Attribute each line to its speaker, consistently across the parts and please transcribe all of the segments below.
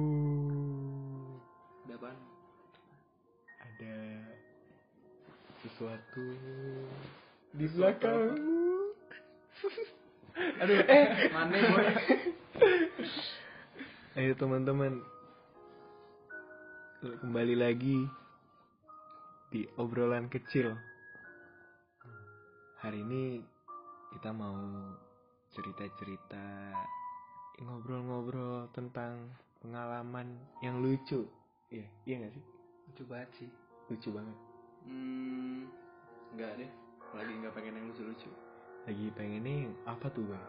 Speaker 1: Uh,
Speaker 2: Ada apaan?
Speaker 1: ada sesuatu di belakangmu.
Speaker 2: Aduh, eh, mana boy?
Speaker 1: Ayo teman-teman Kembali lagi Di obrolan kecil Hari ini Kita mau Cerita-cerita Ngobrol-ngobrol tentang Pengalaman yang lucu Iya, iya gak sih?
Speaker 2: Coba sih.
Speaker 1: Lucu banget
Speaker 2: Hmm, enggak deh. Lagi nggak pengen yang lucu-lucu.
Speaker 1: Lagi pengen nih Apa tuh bang?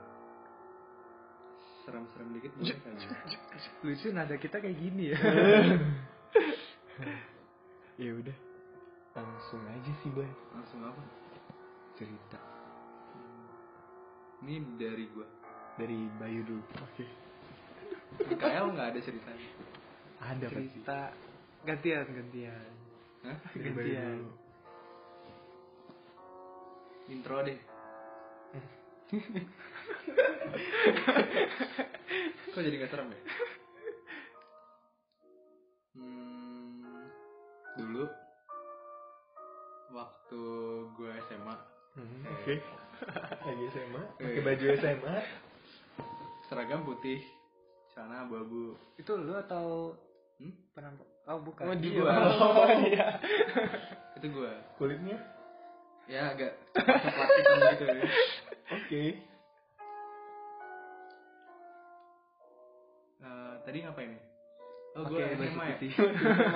Speaker 2: Serem-serem dikit boleh kan? lucu nada kita kayak gini ya.
Speaker 1: ya udah Langsung aja sih bang
Speaker 2: Langsung apa?
Speaker 1: Cerita
Speaker 2: Ini dari gua.
Speaker 1: Dari Bayu dulu Oke
Speaker 2: KL nggak ada ceritanya.
Speaker 1: Ada pasti
Speaker 3: cerita gantian gantian
Speaker 2: Hah?
Speaker 1: Dari Bayu
Speaker 3: gantian.
Speaker 1: dulu.
Speaker 2: Intro deh. Kok jadi gak serem ya? Hmm, dulu waktu gue SMA
Speaker 1: Hmm,
Speaker 2: Oke.
Speaker 1: Lagi SMA,
Speaker 3: Eh.
Speaker 2: Oke.
Speaker 1: SMA.
Speaker 2: seragam putih celana abu-abu
Speaker 3: itu lu atau
Speaker 2: Hmm?
Speaker 3: penampak oh bukan
Speaker 1: Oh, di
Speaker 3: Iya.
Speaker 1: gua.
Speaker 2: Oh, itu gue
Speaker 1: Kulitnya?
Speaker 2: ya agak coklat-coklatan gitu ya.
Speaker 1: Oke.
Speaker 2: Eh, tadi ngapain ya? Oh, gue
Speaker 3: Pakai baju
Speaker 2: SMA ya?
Speaker 3: putih.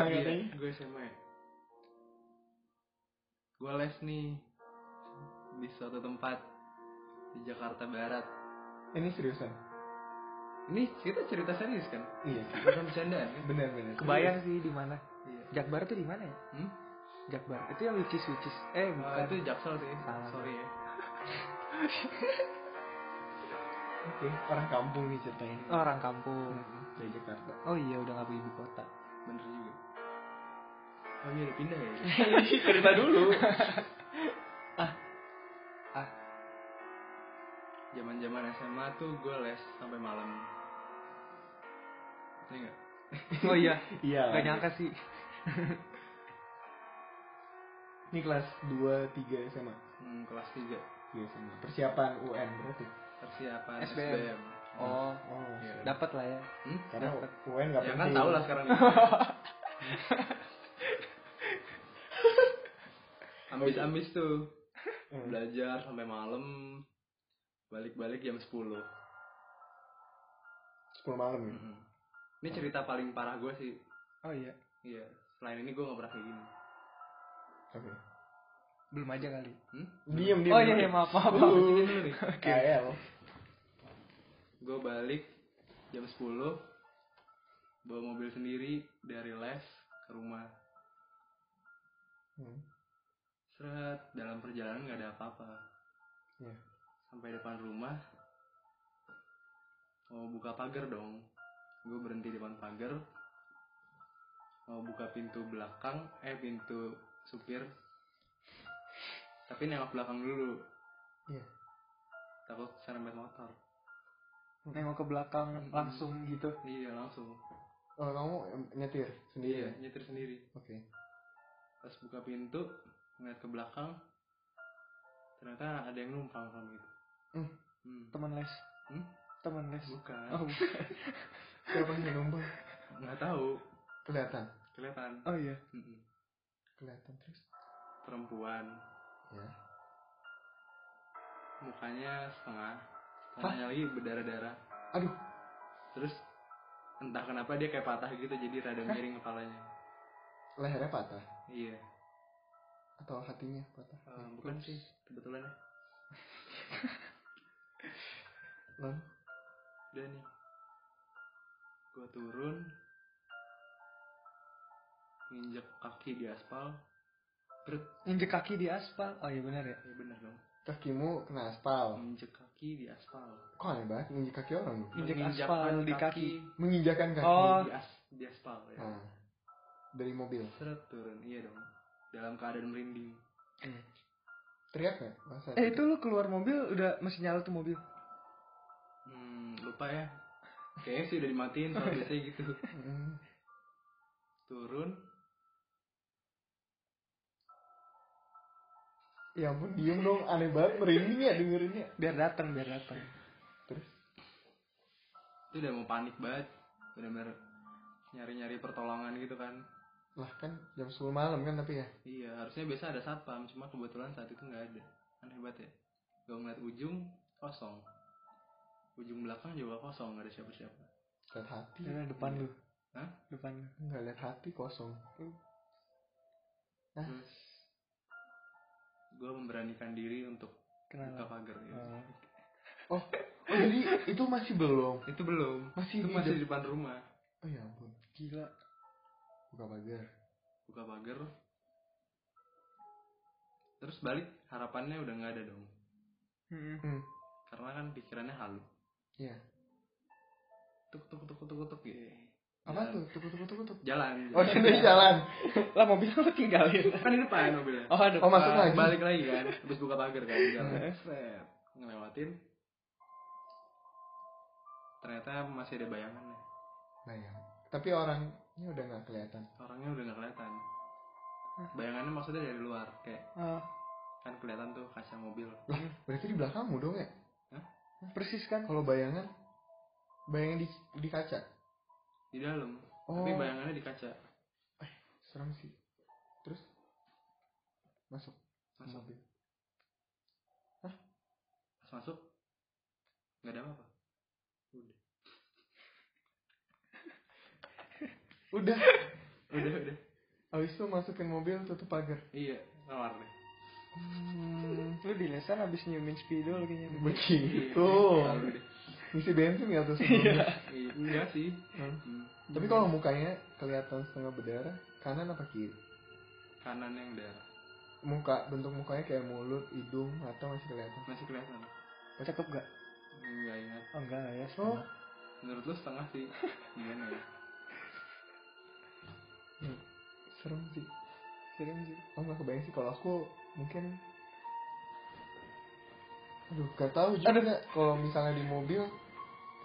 Speaker 2: Iya,
Speaker 1: katanya.
Speaker 2: gue SMA ya? Gue les nih di suatu tempat di Jakarta Barat.
Speaker 1: Ini seriusan?
Speaker 2: Ini kita cerita serius kan?
Speaker 1: Iya.
Speaker 2: Bukan bercandaan kan?
Speaker 1: Benar benar.
Speaker 3: kebayang sih di mana
Speaker 2: Iya.
Speaker 3: jakbar tuh di mana ya
Speaker 2: Hmm?
Speaker 3: jakbar itu yang lucis lucis eh
Speaker 2: Eh,
Speaker 3: bukan
Speaker 2: itu Jaksel sih.
Speaker 3: Salah.
Speaker 2: Sorry ya.
Speaker 1: Oke, orang kampung nih ceritanya.
Speaker 3: orang kampung
Speaker 1: Dari Jakarta.
Speaker 3: oh iya udah nggak ibu kota
Speaker 2: Bener juga. Oh iya, udah pindah ya.
Speaker 1: Cerita dulu.
Speaker 3: ah
Speaker 2: Zaman-zaman SMA tuh gue les sampai malam. Iya nggak?
Speaker 3: oh iya
Speaker 1: Iya.
Speaker 3: nggak nyangka sih
Speaker 1: Ini kelas 2 3 SMA.
Speaker 2: Hmm, kelas 3
Speaker 1: Iya SMA. Persiapan UN berarti.
Speaker 2: persiapan
Speaker 3: SBM.
Speaker 2: SBM.
Speaker 3: oh
Speaker 1: Oh.
Speaker 2: Iya.
Speaker 3: dapat lah ya
Speaker 2: Hmm?
Speaker 1: Karena
Speaker 3: Dapet.
Speaker 1: UN enggak
Speaker 2: ya
Speaker 1: penting.
Speaker 2: kan tau lah sekarang ambis ambis tuh
Speaker 1: Hmm.
Speaker 2: belajar sampai malam balik balik jam 10
Speaker 1: 10 malam ya.
Speaker 2: Mm-mm. Hmm. ini cerita paling parah gue sih
Speaker 3: oh iya
Speaker 2: iya selain ini gue nggak pernah kayak gini
Speaker 1: Oke.
Speaker 3: belum aja kali
Speaker 2: hmm?
Speaker 1: Diam diam.
Speaker 3: oh iya iya maaf maaf maaf.
Speaker 2: Ini dulu nih
Speaker 1: Oke. KL.
Speaker 2: gue balik jam 10 bawa mobil sendiri dari les ke rumah
Speaker 1: Hmm.
Speaker 2: seret dalam perjalanan nggak ada apa-apa
Speaker 1: Iya.
Speaker 2: sampai depan rumah mau buka pagar dong gue berhenti di depan pagar mau buka pintu belakang eh pintu supir tapi nengok belakang dulu
Speaker 1: Iya.
Speaker 2: takut serempet motor
Speaker 3: nengok ke belakang langsung gitu
Speaker 2: iya langsung
Speaker 1: Oh, kamu nyetir sendiri.
Speaker 2: nyetir sendiri
Speaker 1: Oke.
Speaker 2: pas buka pintu ngeliat ke belakang ternyata ada yang numpang kan gitu
Speaker 1: Hmm.
Speaker 2: Hmm.
Speaker 3: teman les
Speaker 2: Hmm?
Speaker 3: teman les
Speaker 2: bukan
Speaker 3: oh bukan.
Speaker 1: Siapa yang numpang?
Speaker 2: nggak tahu
Speaker 1: Kelihatan.
Speaker 2: kelihatan
Speaker 3: oh iya
Speaker 2: Mm-mm.
Speaker 1: Kelihatan terus.
Speaker 2: perempuan
Speaker 1: Ya.
Speaker 2: mukanya setengah tangannya lagi berdarah darah
Speaker 1: Aduh.
Speaker 2: terus entah kenapa dia kayak patah gitu jadi rada miring kepalanya
Speaker 1: lehernya patah
Speaker 2: iya
Speaker 1: atau hatinya patah
Speaker 2: Eh, bukan sih kebetulan ya
Speaker 1: lalu
Speaker 2: udah nih gua turun nginjek kaki di aspal terus
Speaker 3: injek kaki di aspal oh iya benar ya
Speaker 2: ya bener dong
Speaker 1: kakimu kena aspal
Speaker 2: nginjek kaki di aspal
Speaker 1: kok aneh banget menginjak kaki orang lu?
Speaker 3: Injek
Speaker 2: Menginjakkan
Speaker 3: aspal di
Speaker 1: menginjakan kaki
Speaker 3: Oh.
Speaker 2: di, as, di aspal ya
Speaker 1: nah, dari mobil
Speaker 2: seret turun iya dong dalam keadaan merinding
Speaker 1: teriak nggak masa
Speaker 3: Eh itu lu keluar mobil udah mesin nyala tuh mobil.
Speaker 2: hmm, lupa ya kayaknya sih udah dimatiin soal biasanya gitu
Speaker 1: Mm.
Speaker 2: turun
Speaker 1: ya ampun diem dong aneh banget merinding ya dengerinnya
Speaker 3: biar datang biar datang
Speaker 1: terus
Speaker 2: itu udah mau panik banget bener-bener nyari-nyari pertolongan gitu kan
Speaker 1: lah kan jam 10 malam kan tapi ya
Speaker 2: iya harusnya biasa ada satpam cuma kebetulan saat itu nggak ada aneh banget ya gue ngeliat ujung kosong ujung belakang juga kosong nggak ada siapa-siapa
Speaker 1: lihat hati
Speaker 2: Iya.
Speaker 3: Karena depan lu
Speaker 2: Hah?
Speaker 3: depan lu
Speaker 1: nggak lihat hati kosong Oh, Hah?
Speaker 2: terus gue memberanikan diri untuk buka
Speaker 3: kenapa
Speaker 2: pagar ya.
Speaker 1: oh
Speaker 3: Oh.
Speaker 1: oh jadi itu masih belum
Speaker 2: itu belum
Speaker 1: Masih
Speaker 2: itu
Speaker 1: di
Speaker 2: masih di depan rumah
Speaker 1: oh ya ampun
Speaker 3: gila
Speaker 1: buka pagar
Speaker 2: buka pagar terus balik harapannya udah nggak ada dong
Speaker 3: Mm-mm.
Speaker 1: hmm.
Speaker 2: karena kan pikirannya halu
Speaker 1: Iya.
Speaker 2: tuk tuk tuk tuk tuk gitu
Speaker 1: apa tuh tuk tuk tuk tuk
Speaker 2: jalan
Speaker 1: oh dia udah jalan
Speaker 3: lah mobilnya lu tinggalin
Speaker 2: kan di depan mobilnya
Speaker 3: oh ada
Speaker 1: oh masuk
Speaker 3: Pak.
Speaker 1: lagi Iya.
Speaker 2: balik lagi kan habis buka pagar kan jalan Set. ngelewatin ternyata masih ada bayangannya
Speaker 1: nah ya tapi orangnya udah nggak kelihatan
Speaker 2: orangnya udah nggak kelihatan bayangannya maksudnya dari luar kayak
Speaker 3: Oh,
Speaker 2: kan kelihatan tuh kaca mobil
Speaker 1: lah berarti di belakangmu dong ya
Speaker 3: persis kan
Speaker 1: kalau bayangan bayangan di di kaca
Speaker 2: di dalam
Speaker 1: Oh.
Speaker 2: tapi bayangannya di kaca
Speaker 1: serem sih terus masuk
Speaker 2: masuk
Speaker 1: mobil
Speaker 2: pas masuk nggak ada apa-apa udah
Speaker 1: udah
Speaker 2: udah udah
Speaker 1: habis itu masukin mobil tutup pagar
Speaker 2: iya keluar deh
Speaker 1: hmm,
Speaker 3: lu di lesan abis nyiumin spidol kayaknya
Speaker 1: begitu
Speaker 2: Lalu Iya, deh
Speaker 1: ngisi bensin ya tuh sebelumnya
Speaker 2: iya enggak sih
Speaker 1: Hmm.
Speaker 2: Hmm.
Speaker 1: tapi kalau mukanya kelihatan setengah berdarah kanan apa kiri
Speaker 2: kanan yang darah
Speaker 1: muka bentuk mukanya kayak mulut hidung atau masih kelihatan
Speaker 2: masih kelihatan
Speaker 3: Oh, cakep gak
Speaker 2: nggak ingat
Speaker 3: oh, enggak lah ya
Speaker 1: oh
Speaker 3: semua
Speaker 2: menurut lu setengah sih gimana ya
Speaker 1: serem sih
Speaker 3: serem sih
Speaker 1: oh nggak kebayang sih kalau aku mungkin aduh gak tahu juga kalau misalnya di mobil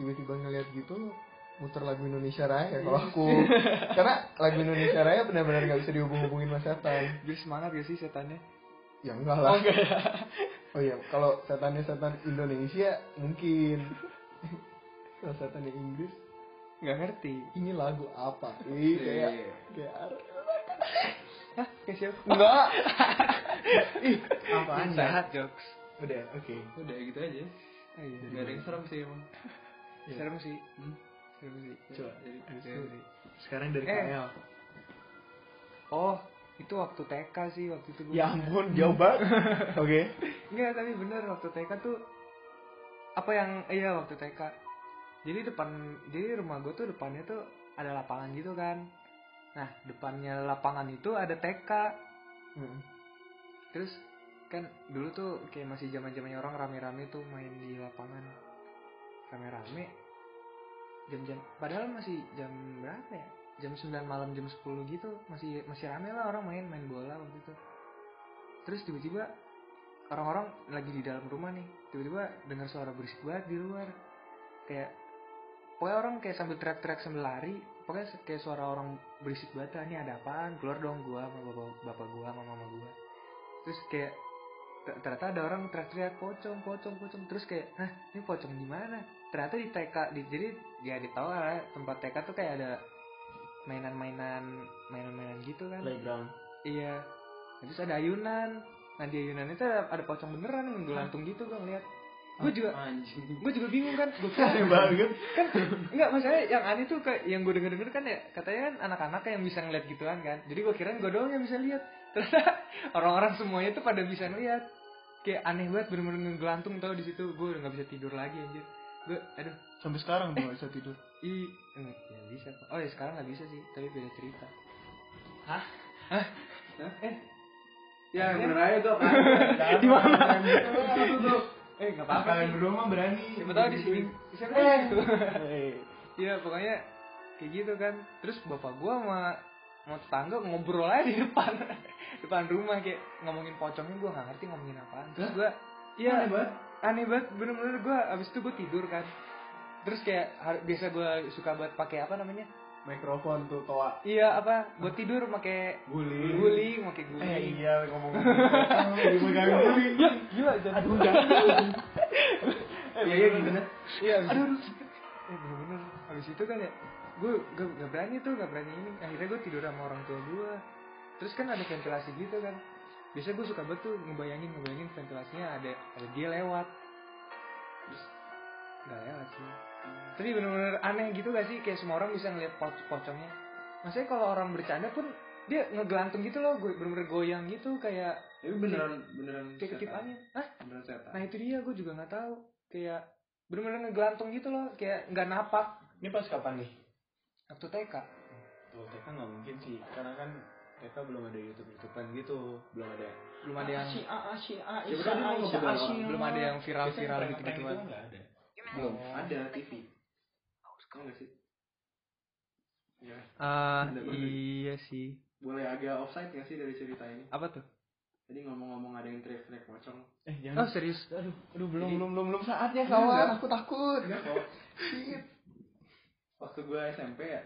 Speaker 1: tiba-tiba ngeliat gitu muter lagu Indonesia Raya ya kalau aku karena lagu Indonesia Raya benar-benar nggak bisa dihubung-hubungin sama setan
Speaker 3: Eh, biar semangat gak sih setannya
Speaker 1: ya enggak lah oh, iya kalau setannya setan Indonesia mungkin kalau setannya Inggris
Speaker 3: nggak ngerti
Speaker 1: ini lagu apa Ih, kayak
Speaker 2: Iya.
Speaker 1: kayak
Speaker 3: hah kayak siapa
Speaker 1: enggak ih
Speaker 3: apaan jahat jokes
Speaker 1: udah oke
Speaker 2: udah gitu aja
Speaker 3: oh, iya.
Speaker 2: nggak ada yang serem sih emang
Speaker 1: iya.
Speaker 3: serem sih
Speaker 2: Hmm.
Speaker 3: serem sih
Speaker 2: coba jadi
Speaker 3: serem sih
Speaker 1: sekarang dari
Speaker 3: Eh.
Speaker 1: Kael
Speaker 3: oh itu waktu TK sih waktu itu gua
Speaker 1: ya ampun jauh banget oke
Speaker 3: Enggak, tapi bener waktu TK tuh apa yang iya waktu TK. Jadi depan jadi rumah gue tuh depannya tuh ada lapangan gitu kan. Nah, depannya lapangan itu ada TK.
Speaker 1: Hmm.
Speaker 3: Terus kan dulu tuh kayak masih zaman-zamannya orang rame-rame tuh main di lapangan. Rame-rame. Jam-jam padahal masih jam berapa ya? Jam 9 malam jam 10 gitu masih masih rame lah orang main main bola waktu itu. Terus tiba-tiba orang-orang lagi di dalam rumah nih tiba-tiba dengar suara berisik banget di luar kayak pokoknya orang kayak sambil teriak-teriak sambil lari pokoknya se- kayak suara orang berisik banget lah, ini ada apaan keluar dong gua sama bapak, bapak gua sama mama gua terus kayak ter- ternyata ada orang teriak-teriak pocong pocong pocong terus kayak nah ini pocong di mana ternyata di TK di, jadi ya di tahu lah ya, tempat TK tuh kayak ada mainan-mainan mainan-mainan gitu kan
Speaker 1: playground
Speaker 3: Iya. Nah, Terus ada ayunan. Nah di ayunan itu ada, ada pocong beneran yang gelantung gitu gue ngeliat. Gue juga
Speaker 2: anjing
Speaker 3: gue juga bingung kan. Gue kira
Speaker 1: banget
Speaker 3: kan enggak masalahnya yang aneh tuh kayak yang gue denger denger kan ya katanya kan anak-anak yang bisa ngeliat gituan kan. Jadi gue kirain gue doang yang bisa lihat. Ternyata orang-orang semuanya tuh pada bisa ngeliat. Kayak aneh banget bener-bener ngegelantung tau di situ gue udah nggak bisa tidur lagi anjir. Gue aduh
Speaker 1: sampai sekarang tuh nggak bisa tidur
Speaker 3: i enggak ya bisa kok. Oh ya sekarang nggak bisa sih tapi beda cerita.
Speaker 2: Hah?
Speaker 3: Hah?
Speaker 2: Hah?
Speaker 3: Eh
Speaker 1: Eh,
Speaker 2: ya
Speaker 3: Aneh.
Speaker 2: bener aja tuh apa
Speaker 1: di mana
Speaker 3: Eh nggak apa-apa
Speaker 1: kalian
Speaker 3: sih.
Speaker 1: berdua mah berani
Speaker 3: Siapa tahu di sini. Siapa tahu
Speaker 1: Eh.
Speaker 3: di situ. Iya pokoknya kayak gitu kan. Terus bapak gua sama mau tetangga ngobrol aja di depan depan rumah kayak ngomongin pocongnya gua nggak ngerti ngomongin apaan. Terus gua iya
Speaker 2: banget
Speaker 3: aneh banget bener-bener gua abis itu gua tidur kan. terus kayak har- biasa gue suka buat pakai apa namanya
Speaker 1: Mikrofon tuh toa.
Speaker 3: iya apa buat tidur pakai
Speaker 1: Guli.
Speaker 3: guling pakai guling
Speaker 1: Eh iya ngomong. Eh, Dipegang guli.
Speaker 3: Ya, gila jangan aduh
Speaker 1: Iya iya gimana?
Speaker 3: iya abis- eh bener-bener habis itu kan ya gue gak, gak berani tuh gak berani ini akhirnya gue tidur sama orang tua gue terus kan ada ventilasi gitu kan biasanya gue suka banget tuh ngebayangin ngebayangin ventilasinya ada ada dia lewat terus gak lewat sih tapi bener-bener aneh gitu gak sih kayak semua orang bisa ngeliat po- pocongnya maksudnya kalau orang bercanda pun dia ngegelantung gitu loh gue bener-bener goyang gitu kayak
Speaker 2: Tapi beneran beneran
Speaker 3: kayak ketipannya Hah?
Speaker 2: Beneran setan.
Speaker 3: Nah itu dia, gue juga nggak tahu. Kayak bener-bener ngegelantung gitu loh, kayak nggak napak.
Speaker 1: Ini pas kapan nih?
Speaker 3: Waktu TK.
Speaker 1: Tuh TK nggak mungkin sih, karena kan TK belum ada YouTube YouTubean gitu, belum ada.
Speaker 3: Belum ada yang
Speaker 1: si A si A
Speaker 2: Ya berarti mau ngebahas orang.
Speaker 3: belum ada yang viral-viral gitu gituan.
Speaker 1: nggak ada.
Speaker 2: Belum.
Speaker 3: Oh.
Speaker 2: Ada TV. Tahu nggak sih? Ya,
Speaker 3: Ah
Speaker 2: Ada bener.
Speaker 3: iya sih.
Speaker 2: boleh agak offside nggak sih dari cerita ini?
Speaker 3: Apa tuh?
Speaker 2: Tadi ngomong-ngomong ada yang teriak-teriak pocong.
Speaker 1: Eh
Speaker 3: Oh
Speaker 1: jangan.
Speaker 3: serius?
Speaker 1: aduh, aduh belum
Speaker 2: Jadi-
Speaker 1: belum belum belum ya? saatnya
Speaker 2: Enggak,
Speaker 1: kawan.
Speaker 2: enggak.
Speaker 1: Aku takut.
Speaker 2: Enggak kok. Waktu gue SMP ya,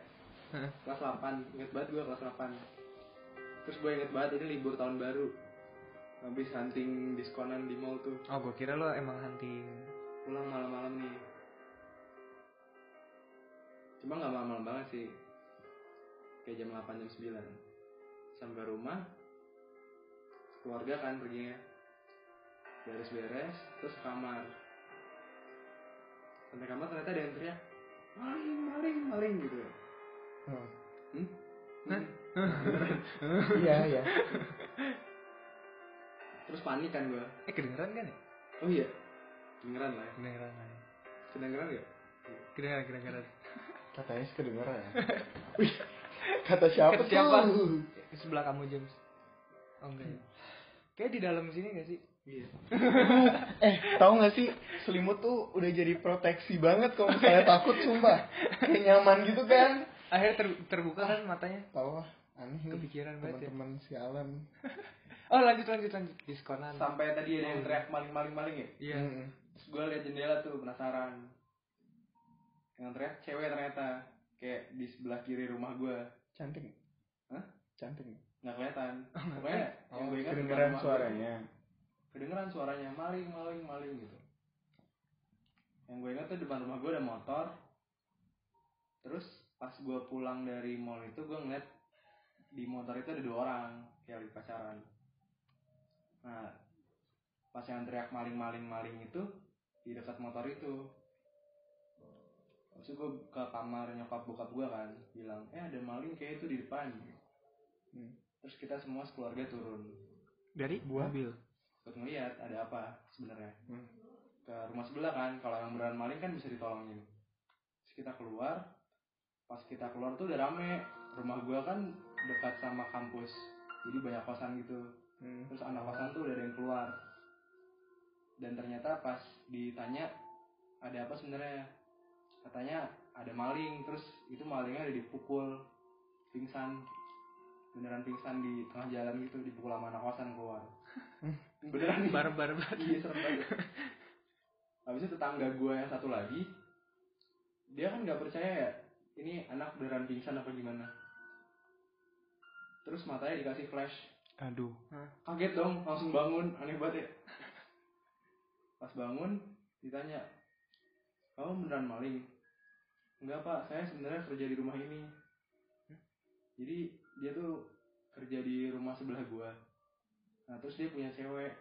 Speaker 3: Heeh.
Speaker 2: kelas 8, inget banget gue kelas 8 Terus gue inget banget ini libur tahun baru Habis hunting diskonan di mall tuh
Speaker 3: Oh gue kira lo emang hunting.
Speaker 2: Pulang malam-malam nih Cuma gak malam-malam banget sih Kayak jam 8, jam 9 Sampai rumah Keluarga kan perginya Beres-beres Terus ke kamar Sampai kamar ternyata ada yang teriak Maling, maling, maling gitu Hmm?
Speaker 3: Hah?
Speaker 1: Iya iya.
Speaker 2: Terus panik kan gue
Speaker 3: Eh kedengeran kan ya?
Speaker 2: Oh iya Kedengeran lah ya
Speaker 3: Kedengeran kan?
Speaker 2: Kedengeran ya?" gak?
Speaker 3: Kedengeran kedengeran.
Speaker 1: Katanya sih kedengeran. ya. Wih, Kata siapa
Speaker 3: Kata siapa?
Speaker 1: tuh?
Speaker 3: Di sebelah kamu James. Oh enggak. ya? Kayak di dalam sini gak sih?
Speaker 2: Iya
Speaker 1: Eh, tahu gak sih selimut tuh udah jadi proteksi banget kalau misalnya takut sumpah. Kayak nyaman gitu kan.
Speaker 3: Akhirnya ter- terbuka kan matanya.
Speaker 1: Tahu lah, aneh nih
Speaker 3: Kepikiran banget ya.
Speaker 1: teman-teman si Alan.
Speaker 3: Oh lanjut lanjut lanjut diskonan.
Speaker 2: Sampai tadi ada yang teriak maling-maling-maling ya
Speaker 3: Iya.
Speaker 1: Mm-mm.
Speaker 2: Terus gue liat jendela tuh penasaran Yang teriak cewek ternyata Kayak di sebelah kiri rumah gue
Speaker 1: Cantik.
Speaker 2: Hah?
Speaker 1: Cantik.
Speaker 3: Oh, iya,
Speaker 1: nggak?
Speaker 2: Nggak kelihatan Pokoknya yang
Speaker 1: Oh,
Speaker 2: gue ingat
Speaker 1: kedengeran
Speaker 2: rumah gua.
Speaker 1: suaranya.
Speaker 2: Kedengeran suaranya maling maling maling gitu Yang gue ingat tuh depan rumah gue ada motor Terus pas gue pulang dari mall itu gue ngeliat Di motor itu ada dua orang Kayak lagi pacaran Nah Pas yang teriak maling maling maling itu Di dekat motor itu Terus gue ke kamar nyokap bokap gue kan Bilang eh ada maling kayak itu di depan
Speaker 1: Hmm.
Speaker 2: Terus kita semua sekeluarga turun
Speaker 3: Dari
Speaker 1: Buah?
Speaker 3: mobil.
Speaker 2: buat ngeliat ada apa sebenarnya
Speaker 1: Hmm.
Speaker 2: ke rumah sebelah kan kalau yang beneran maling kan bisa ditolongin terus kita keluar pas kita keluar tuh udah rame rumah gua kan dekat sama kampus jadi banyak kosan gitu
Speaker 1: Hmm.
Speaker 2: terus anak kosan tuh udah ada yang keluar dan ternyata pas ditanya ada apa sebenarnya katanya ada maling terus itu malingnya ada dipukul pingsan beneran pingsan di tengah jalan gitu dipukul sama anak kosan keluar beneran nih
Speaker 3: Barbar banget.
Speaker 2: iya serem banget habis itu tetangga gue yang satu lagi dia kan nggak percaya ya ini anak beneran pingsan apa gimana terus matanya dikasih flash
Speaker 1: Aduh.
Speaker 2: kaget dong langsung bangun aneh banget ya pas bangun ditanya kamu beneran maling enggak pak saya sebenarnya kerja di rumah ini jadi dia tuh kerja di rumah sebelah gua nah terus dia punya cewek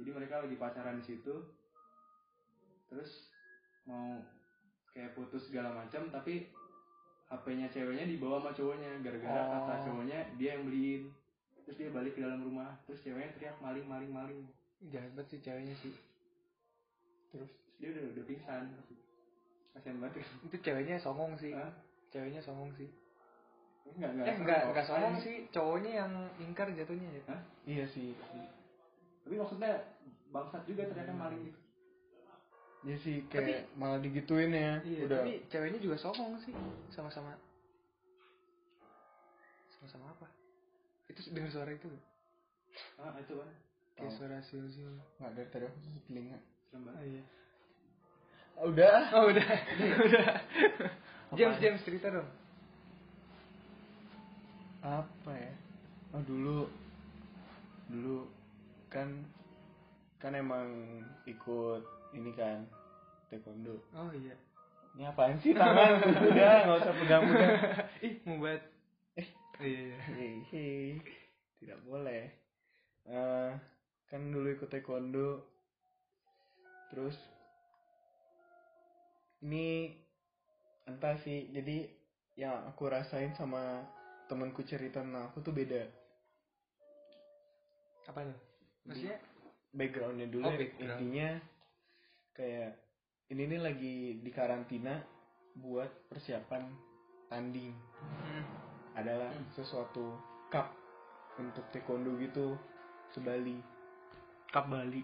Speaker 2: jadi mereka lagi pacaran di situ terus mau kayak putus segala macam tapi HP-nya ceweknya dibawa sama cowoknya gara-gara kata
Speaker 3: Oh.
Speaker 2: cowoknya dia yang beliin terus dia balik ke dalam rumah terus ceweknya teriak maling maling maling
Speaker 3: Jahat banget sih ceweknya sih.
Speaker 1: Terus
Speaker 2: terus dia udah udah pingsan kasian banget
Speaker 3: Itu ceweknya songong sih.
Speaker 2: Hah?
Speaker 3: Ceweknya songong sih.
Speaker 2: enggak enggak
Speaker 3: Iya. eh enggak, enggak songong sih. Cowoknya yang ingkar jatuhnya ya.
Speaker 1: iya sih.
Speaker 2: tapi maksudnya bangsat juga ternyata maling gitu
Speaker 1: Iya sih kayak malah digituin ya.
Speaker 3: Iya,
Speaker 1: udah.
Speaker 3: tapi ceweknya juga songong sih. Sama-sama. Sama-sama apa? Itu dengar suara itu nggak?
Speaker 2: ah itu kan
Speaker 3: Kayak
Speaker 1: Tahu.
Speaker 3: suara siul-siul. Oh,
Speaker 1: nggak dari tadi aku tuh telinga.
Speaker 2: serem banget
Speaker 3: iya.
Speaker 1: udah
Speaker 3: Oh udah, udah. James
Speaker 1: Apaan?
Speaker 3: James cerita dong.
Speaker 1: apa ya oh dulu dulu kan kan emang ikut ini kan taekwondo
Speaker 3: Oh iya.
Speaker 1: ini apaan sih tangan udah nggak usah pegang-pegang
Speaker 3: Ih mau buat. Eh iya. iya.
Speaker 1: Hei, hei. tidak boleh Eh, kan dulu ikut taekwondo terus ini entah sih jadi yang aku rasain sama temanku cerita tentang aku tuh beda
Speaker 3: Apa tuh? Maksudnya?
Speaker 1: backgroundnya dulu
Speaker 3: Oh,
Speaker 1: ya.
Speaker 3: background.
Speaker 1: intinya kayak ini nih lagi di karantina buat persiapan tanding
Speaker 3: Hmm.
Speaker 1: adalah sesuatu cup untuk taekwondo gitu ke Bali
Speaker 3: Cup Bali.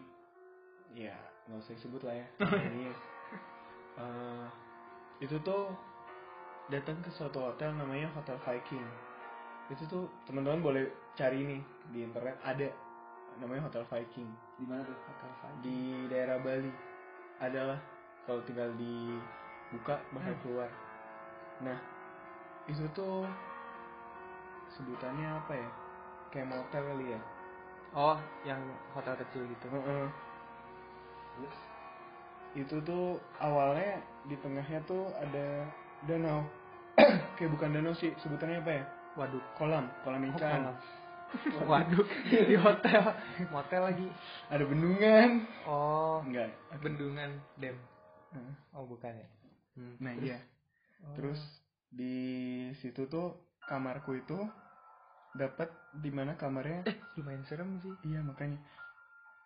Speaker 1: ya nggak usah disebut lah ya
Speaker 3: Oh, iya.
Speaker 1: Ini, eh, itu tuh datang ke suatu hotel namanya Hotel Viking itu tuh teman-teman boleh cari nih di internet ada namanya Hotel Viking
Speaker 2: Di mana tuh?
Speaker 1: di daerah Bali adalah kalau tinggal dibuka bakal
Speaker 3: Hmm.
Speaker 1: keluar. Nah, itu tuh sebutannya apa ya? Kayak motel kali ya.
Speaker 3: Oh yang hotel kecil gitu.
Speaker 1: Heeh.
Speaker 2: Terus
Speaker 1: Itu tuh awalnya di tengahnya tuh ada danau. Kayak bukan danau sih, sebutannya apa ya?
Speaker 3: Waduk.
Speaker 1: Kolam, kolam
Speaker 3: Oh,
Speaker 1: ikan.
Speaker 3: kolam. Waduk di hotel. Motel lagi.
Speaker 1: Ada bendungan.
Speaker 3: Oh
Speaker 1: Enggak.
Speaker 3: bendungan dam.
Speaker 1: Heeh.
Speaker 3: Oh bukan ya. Hmm.
Speaker 1: Nah, iya. Terus di situ tuh kamarku itu dapat di mana kamarnya?
Speaker 2: Eh.
Speaker 3: lumayan serem sih.
Speaker 1: Iya makanya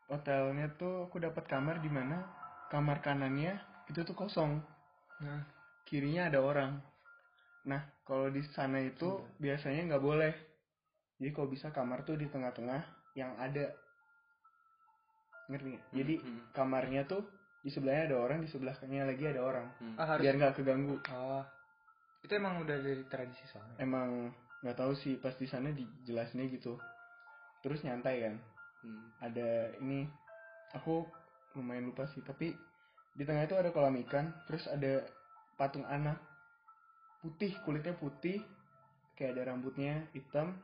Speaker 1: hotelnya tuh aku dapat kamar di mana kamar kanannya itu tuh kosong,
Speaker 3: Nah.
Speaker 1: kirinya ada orang. Nah kalau di sana itu
Speaker 2: Iya.
Speaker 1: biasanya nggak boleh. Jadi kalau bisa kamar tuh di tengah-tengah yang ada. Ngerti? nggak? Jadi
Speaker 2: hmm.
Speaker 1: kamarnya tuh di sebelahnya ada orang, di sebelahnya lagi ada orang.
Speaker 2: Hmm.
Speaker 3: Ah, harus.
Speaker 1: Biar nggak keganggu.
Speaker 3: Oh. Itu emang udah dari tradisi soalnya.
Speaker 1: emang nggak tahu sih pas di sana dijelasinnya gitu terus nyantai kan
Speaker 2: Hmm.
Speaker 1: ada ini aku lumayan lupa sih tapi di tengah itu ada kolam ikan terus ada patung anak putih kulitnya putih kayak ada rambutnya hitam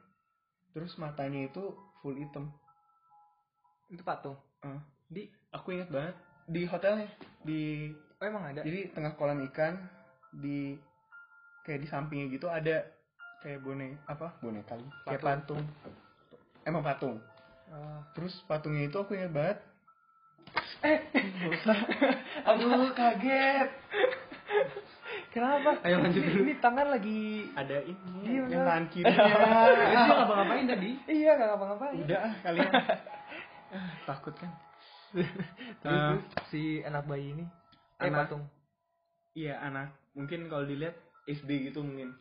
Speaker 1: terus matanya itu full hitam
Speaker 3: Itu patung.
Speaker 1: Eh,
Speaker 3: Di
Speaker 1: aku ingat banget di hotelnya di
Speaker 3: Oh emang ada.
Speaker 1: jadi tengah kolam ikan di kayak di sampingnya gitu ada kayak bonek apa boneka lagi kayak
Speaker 3: Patung.
Speaker 1: patung emang patung
Speaker 3: Oh.
Speaker 1: terus patungnya itu aku ingat banget
Speaker 3: Eh,
Speaker 1: aduh kaget
Speaker 3: kenapa?
Speaker 2: Ayo, lanjut
Speaker 3: Ini-
Speaker 2: dulu.
Speaker 3: Ini tangan lagi
Speaker 1: ada ini
Speaker 3: Iya,
Speaker 1: yang
Speaker 3: bener.
Speaker 1: tangan kirinya
Speaker 2: Jadi dia ngapa-ngapain tadi?
Speaker 3: Iya, gak ngapa-ngapain.
Speaker 1: udah ah, kalian Ah, takut kan
Speaker 3: Terus,
Speaker 1: Eh,
Speaker 3: terus si anak bayi ini eh
Speaker 1: anak-
Speaker 3: patung.
Speaker 1: iya anak mungkin kalau dilihat SD gitu mungkin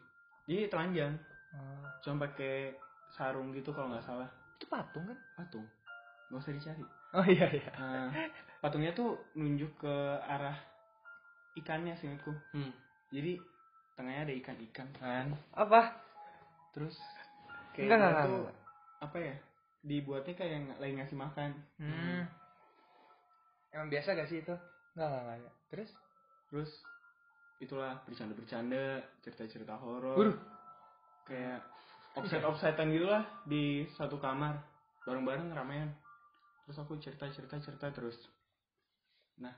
Speaker 1: jadi telanjang
Speaker 3: Oh,
Speaker 1: cuma pakai sarung gitu kalau nggak salah
Speaker 3: itu patung kan?
Speaker 1: patung nggak usah dicari
Speaker 3: Oh iya iya.
Speaker 1: Eh, patungnya tuh nunjuk ke arah ikannya seingatku
Speaker 2: Hmm.
Speaker 1: jadi tengahnya ada ikan-ikan kan
Speaker 3: Apa?
Speaker 1: terus dia
Speaker 3: Enggak, enggak,
Speaker 1: tuh
Speaker 3: enggak.
Speaker 1: apa ya dibuatnya kayak ng- lagi ngasih makan
Speaker 3: Hmm. Emang biasa gak sih itu? Enggak enggak enggak. Terus?
Speaker 1: terus itulah bercanda-bercanda cerita-cerita horor
Speaker 3: Waduh.
Speaker 1: kayak offset-offsetan gitu lah di satu kamar bareng-bareng ramean terus aku cerita-cerita cerita terus nah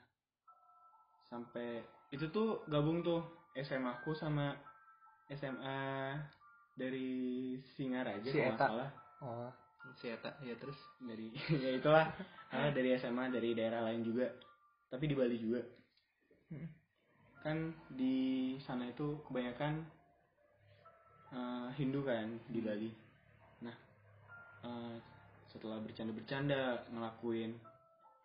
Speaker 1: sampai itu tuh gabung tuh SMA aku sama SMA dari Singaraja
Speaker 3: Si
Speaker 1: kalau nggak
Speaker 3: Eta.
Speaker 1: salah
Speaker 3: Oh.
Speaker 2: Si Eta, ya terus.
Speaker 1: dari ya itulah karena dari SMA dari daerah lain juga tapi di Bali juga
Speaker 3: Hmm.
Speaker 1: kan di sana itu kebanyakan eh, Hindu kan di Bali nah eh, setelah bercanda-bercanda ngelakuin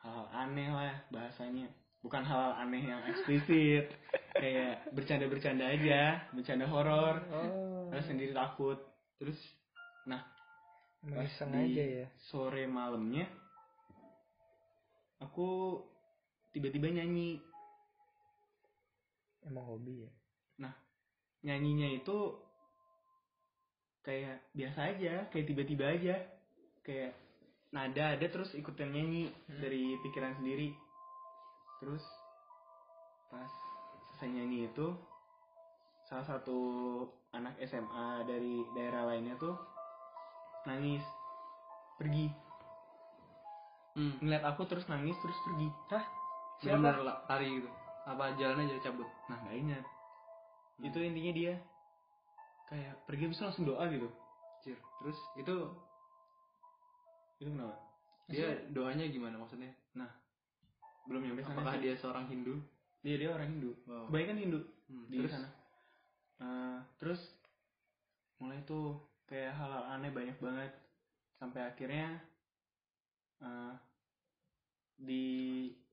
Speaker 1: hal-hal aneh lah bahasanya bukan hal-hal aneh yang eksplisit kayak bercanda-bercanda aja bercanda horor
Speaker 3: Oh.
Speaker 1: terus sendiri takut terus nah Pas
Speaker 3: Mengiseng
Speaker 1: di
Speaker 3: aja ya.
Speaker 1: Sore malamnya aku tiba-tiba nyanyi.
Speaker 3: Emang hobi ya.
Speaker 1: Nah, Nyanyinya itu kayak biasa aja, kayak tiba-tiba aja. Kayak nada ada terus ikutan nyanyi dari pikiran sendiri. Terus pas selesai nyanyi itu salah satu anak SMA dari daerah lainnya tuh nangis pergi
Speaker 2: Hmm.
Speaker 1: ngeliat aku terus nangis terus pergi
Speaker 2: Hah? Siapa?
Speaker 1: Bener-bener
Speaker 2: lah, lari gitu. Apa jalan aja cabut?
Speaker 1: nah nggak ingat itu intinya dia kayak pergi bisa langsung doa gitu
Speaker 2: Cir. Terus itu
Speaker 1: itu kenapa
Speaker 2: dia doanya gimana maksudnya?
Speaker 1: Nah,
Speaker 2: belum
Speaker 1: nyampe sana
Speaker 2: Apakah
Speaker 1: sih.
Speaker 2: dia seorang Hindu?
Speaker 1: dia dia orang Hindu
Speaker 2: Wow.
Speaker 1: kebanyakan Hindu
Speaker 2: Hmm,
Speaker 1: di sana Eh, terus mulai tuh kayak hal-hal aneh banyak banget sampai akhirnya eh, di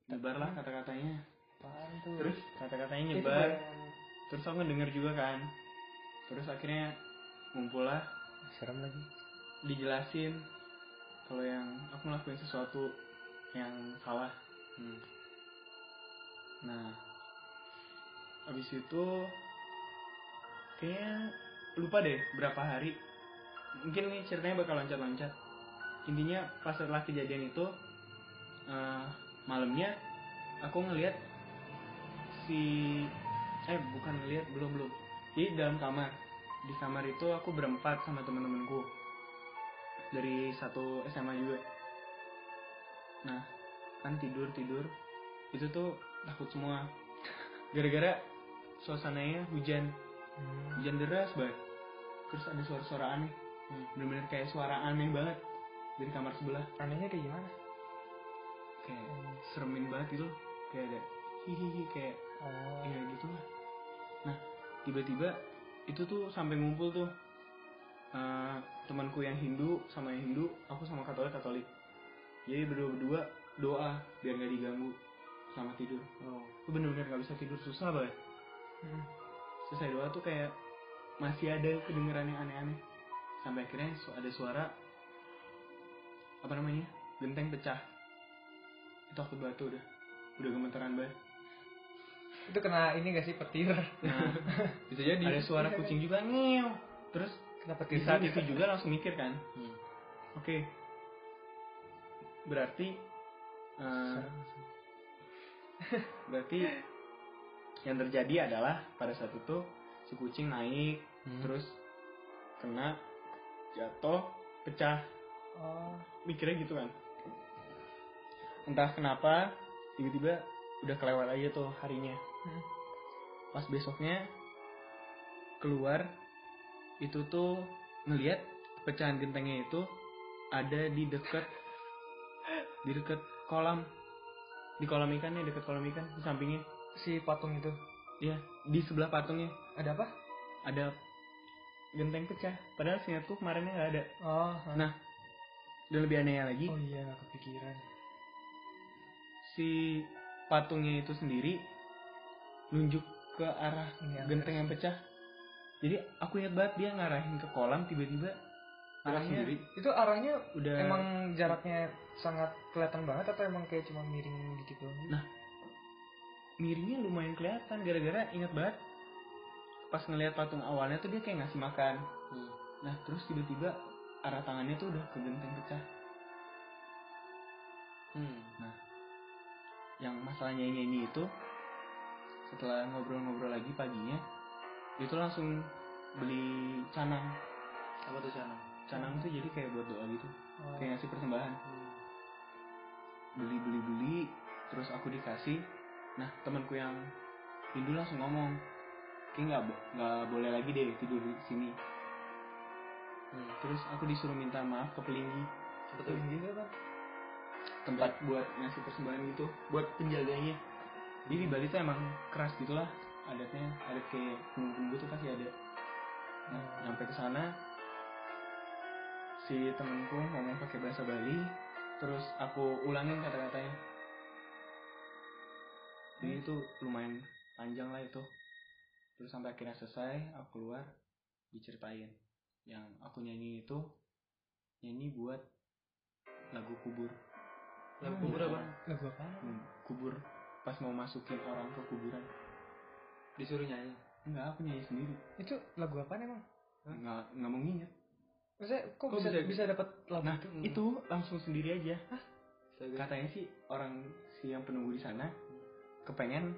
Speaker 1: nyebar lah kata-katanya
Speaker 3: Apaan tuh?
Speaker 2: Terus
Speaker 1: kata-katanya
Speaker 3: Itu
Speaker 1: nyebar
Speaker 3: bayangan.
Speaker 1: terus aku ngedenger juga kan terus akhirnya ngumpul lah
Speaker 3: Serem lagi.
Speaker 1: dijelasin kalau yang aku ngelakuin sesuatu yang salah
Speaker 2: Hmm.
Speaker 1: Nah, habis itu kayaknya lupa deh berapa hari. Mungkin nih ceritanya bakal loncat-loncat. Intinya pas setelah kejadian itu eh, malamnya aku ngelihat si eh bukan ngelihat belum belum. Jadi dalam kamar di kamar itu aku berempat sama temen-temenku dari satu SMA juga. Nah, kan tidur tidur itu tuh takut semua gara-gara suasananya hujan
Speaker 3: Hmm.
Speaker 1: hujan deras banget terus ada suara-suara aneh
Speaker 2: Hmm.
Speaker 1: bener-bener kayak suara aneh banget dari kamar sebelah
Speaker 3: Anehnya kayak gimana?
Speaker 1: kayak seremin banget gitu kayak ada hihihi kayak
Speaker 3: Oh.
Speaker 1: ya gitu lah nah tiba-tiba itu tuh sampai ngumpul tuh Eh, temanku yang Hindu sama yang Hindu aku sama Katolik Katolik jadi berdua berdua doa biar nggak diganggu sama tidur
Speaker 2: Oh.
Speaker 1: aku bener-bener nggak bisa tidur susah banget
Speaker 3: Hmm.
Speaker 1: selesai doa tuh kayak masih ada kedengeran yang aneh-aneh sampai akhirnya su- ada suara apa namanya genteng pecah itu aku batu udah udah gemeteran banget
Speaker 3: Itu kena ini gak sih petir?
Speaker 1: nah
Speaker 2: Bisa jadi.
Speaker 1: ada suara kucing juga ngew terus
Speaker 3: Kena
Speaker 1: di
Speaker 3: petir
Speaker 1: saat itu
Speaker 3: juga.
Speaker 1: juga langsung mikir kan
Speaker 2: Hmm.
Speaker 1: oke berarti eh,
Speaker 3: Serem.
Speaker 1: berarti yang terjadi adalah pada saat itu si kucing naik
Speaker 3: Hmm.
Speaker 1: terus kena jatuh pecah
Speaker 3: Oh.
Speaker 1: mikirnya gitu kan entah kenapa tiba-tiba udah kelewat aja tuh harinya
Speaker 3: Hmm.
Speaker 1: pas besoknya keluar itu tuh ngelihat pecahan gentengnya itu ada di dekat di dekat kolam di kolam ikannya dekat kolam ikan di sampingnya
Speaker 3: Si patung itu.
Speaker 1: ya di sebelah patungnya
Speaker 3: Ada apa?
Speaker 1: ada genteng pecah padahal seingatku kemarinnya nggak ada
Speaker 3: Oh. ha.
Speaker 1: nah dan lebih anehnya lagi
Speaker 3: Oh iya gak kepikiran.
Speaker 1: si patungnya itu sendiri nunjuk ke arah
Speaker 3: Iya,
Speaker 1: genteng yang pecah. Jadi aku ingat banget dia ngarahin ke kolam tiba-tiba
Speaker 2: Arah
Speaker 1: arahnya
Speaker 2: sendiri.
Speaker 3: Itu arahnya
Speaker 1: udah
Speaker 3: emang jaraknya sangat kelihatan banget atau emang kayak cuma miring dikit doang gitu?
Speaker 1: Nah. miringnya lumayan kelihatan gara-gara ingat banget pas ngelihat patung awalnya tuh dia kayak ngasih makan.
Speaker 2: Hmm.
Speaker 1: Nah terus tiba-tiba arah tangannya tuh udah ke genteng pecah. Nah,
Speaker 2: Hmm.
Speaker 1: Yang masalahnya nyanyi itu setelah ngobrol-ngobrol lagi paginya itu langsung beli canang.
Speaker 2: Apa tuh sana?
Speaker 1: Canang tuh jadi kayak buat doa gitu,
Speaker 3: Oh.
Speaker 1: kayak ngasih persembahan.
Speaker 2: Hmm.
Speaker 1: beli beli beli terus aku dikasih nah temanku yang Hindu langsung ngomong kayak nggak bo- nggak boleh lagi deh tidur di sini Nah,
Speaker 2: Hmm.
Speaker 1: terus aku disuruh minta maaf ke pelinggi
Speaker 2: Apa tuh?
Speaker 3: Tinggi itu apa?
Speaker 1: tempat buat ngasih persembahan gitu buat penjaganya jadi di Bali tuh emang keras gitulah adatnya adat kayak penunggu tuh pasti ada nah sampai ke sana si temanku ngomong pakai bahasa Bali terus aku ulangin kata-katanya jadi itu lumayan panjang lah itu terus sampai akhirnya selesai aku keluar diceritain yang aku nyanyi itu nyanyi buat lagu kubur
Speaker 2: Lagu kubur apa?
Speaker 3: Lagu apa?
Speaker 1: Hmm, kubur pas mau masukin orang ke kuburan
Speaker 2: Disuruh nyanyi.
Speaker 1: enggak aku nyanyi sendiri
Speaker 3: Itu lagu apa emang?
Speaker 1: enggak enggak mau nginget
Speaker 3: Maksudnya kok,
Speaker 2: Kok
Speaker 3: bisa
Speaker 2: bisa-
Speaker 3: bisa, dapat lagu
Speaker 1: nah
Speaker 3: itu? Hmm,
Speaker 1: itu langsung sendiri aja
Speaker 2: Astaga.
Speaker 1: katanya sih orang si yang penunggu di sana kepengen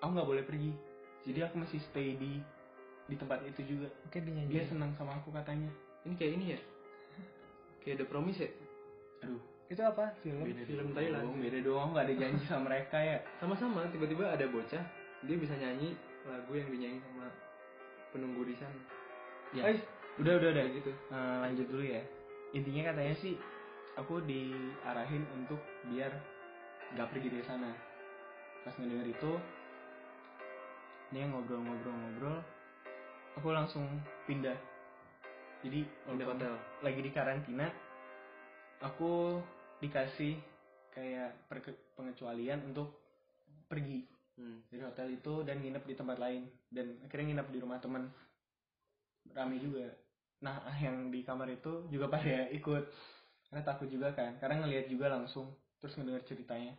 Speaker 1: aku nggak boleh pergi jadi aku masih stay di di tempat itu juga
Speaker 3: Oke dinyanyi.
Speaker 1: dia senang sama aku katanya
Speaker 4: Ini kayak ini ya. Kayak The Promise ya.
Speaker 1: aduh
Speaker 3: Itu apa? Film.
Speaker 1: beda
Speaker 4: film
Speaker 1: dong,
Speaker 4: Thailand.
Speaker 1: beda dong aku nggak ada janji sama mereka ya
Speaker 4: Sama-sama tiba-tiba ada bocah, dia bisa nyanyi lagu yang dinyanyi sama penunggu di sana.
Speaker 1: ya
Speaker 4: Eh,
Speaker 1: udah udah udah
Speaker 4: kayak gitu.
Speaker 1: Eh, lanjut dulu ya intinya katanya sih aku diarahin untuk biar nggak pergi dari sana pas ngedenger itu dia ngobrol-ngobrol-ngobrol aku langsung pindah jadi
Speaker 4: Pindah
Speaker 1: walaupun
Speaker 4: hotel.
Speaker 1: lagi di karantina aku dikasih kayak perke- pengecualian untuk pergi
Speaker 4: Hmm.
Speaker 1: dari hotel itu dan nginep di tempat lain dan akhirnya nginep di rumah temen rame juga nah yang di kamar itu juga pada ikut karena takut juga kan karena ngelihat juga langsung terus ngedenger ceritanya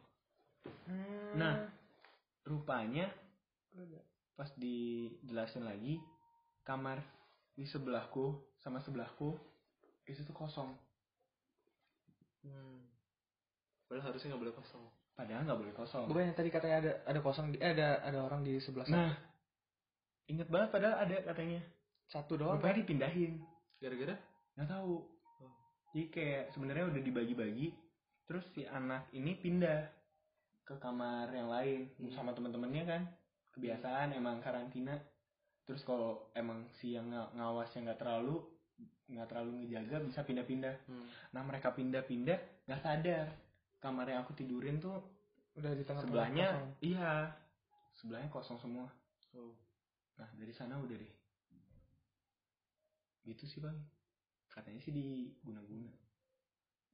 Speaker 3: Hmm.
Speaker 1: nah rupanya pas dijelasin lagi kamar di sebelahku sama sebelahku itu tuh kosong
Speaker 4: Hmm. Padahal harusnya nggak boleh kosong.
Speaker 1: padahal nggak boleh kosong
Speaker 3: Bukannya tadi katanya ada ada kosong di, eh, ada ada orang di sebelah sana.
Speaker 1: nah inget banget padahal ada katanya
Speaker 3: satu doang.
Speaker 1: rupanya dipindahin
Speaker 4: Gara-gara
Speaker 1: nggak tahu
Speaker 4: Oh.
Speaker 1: jadi kayak sebenarnya udah dibagi-bagi terus si anak ini pindah ke kamar yang lain
Speaker 4: Hmm.
Speaker 1: sama teman-temannya kan kebiasaan emang karantina terus kalau emang si yang nga- ngawasnya nggak terlalu nggak terlalu ngejaga bisa pindah-pindah
Speaker 4: hmm.
Speaker 1: nah mereka pindah-pindah nggak sadar kamar yang aku tidurin tuh
Speaker 3: udah di tengah
Speaker 1: sebelahnya iya sebelahnya kosong semua
Speaker 4: Oh.
Speaker 1: nah dari sana udah deh gitu sih bang katanya sih di guna-guna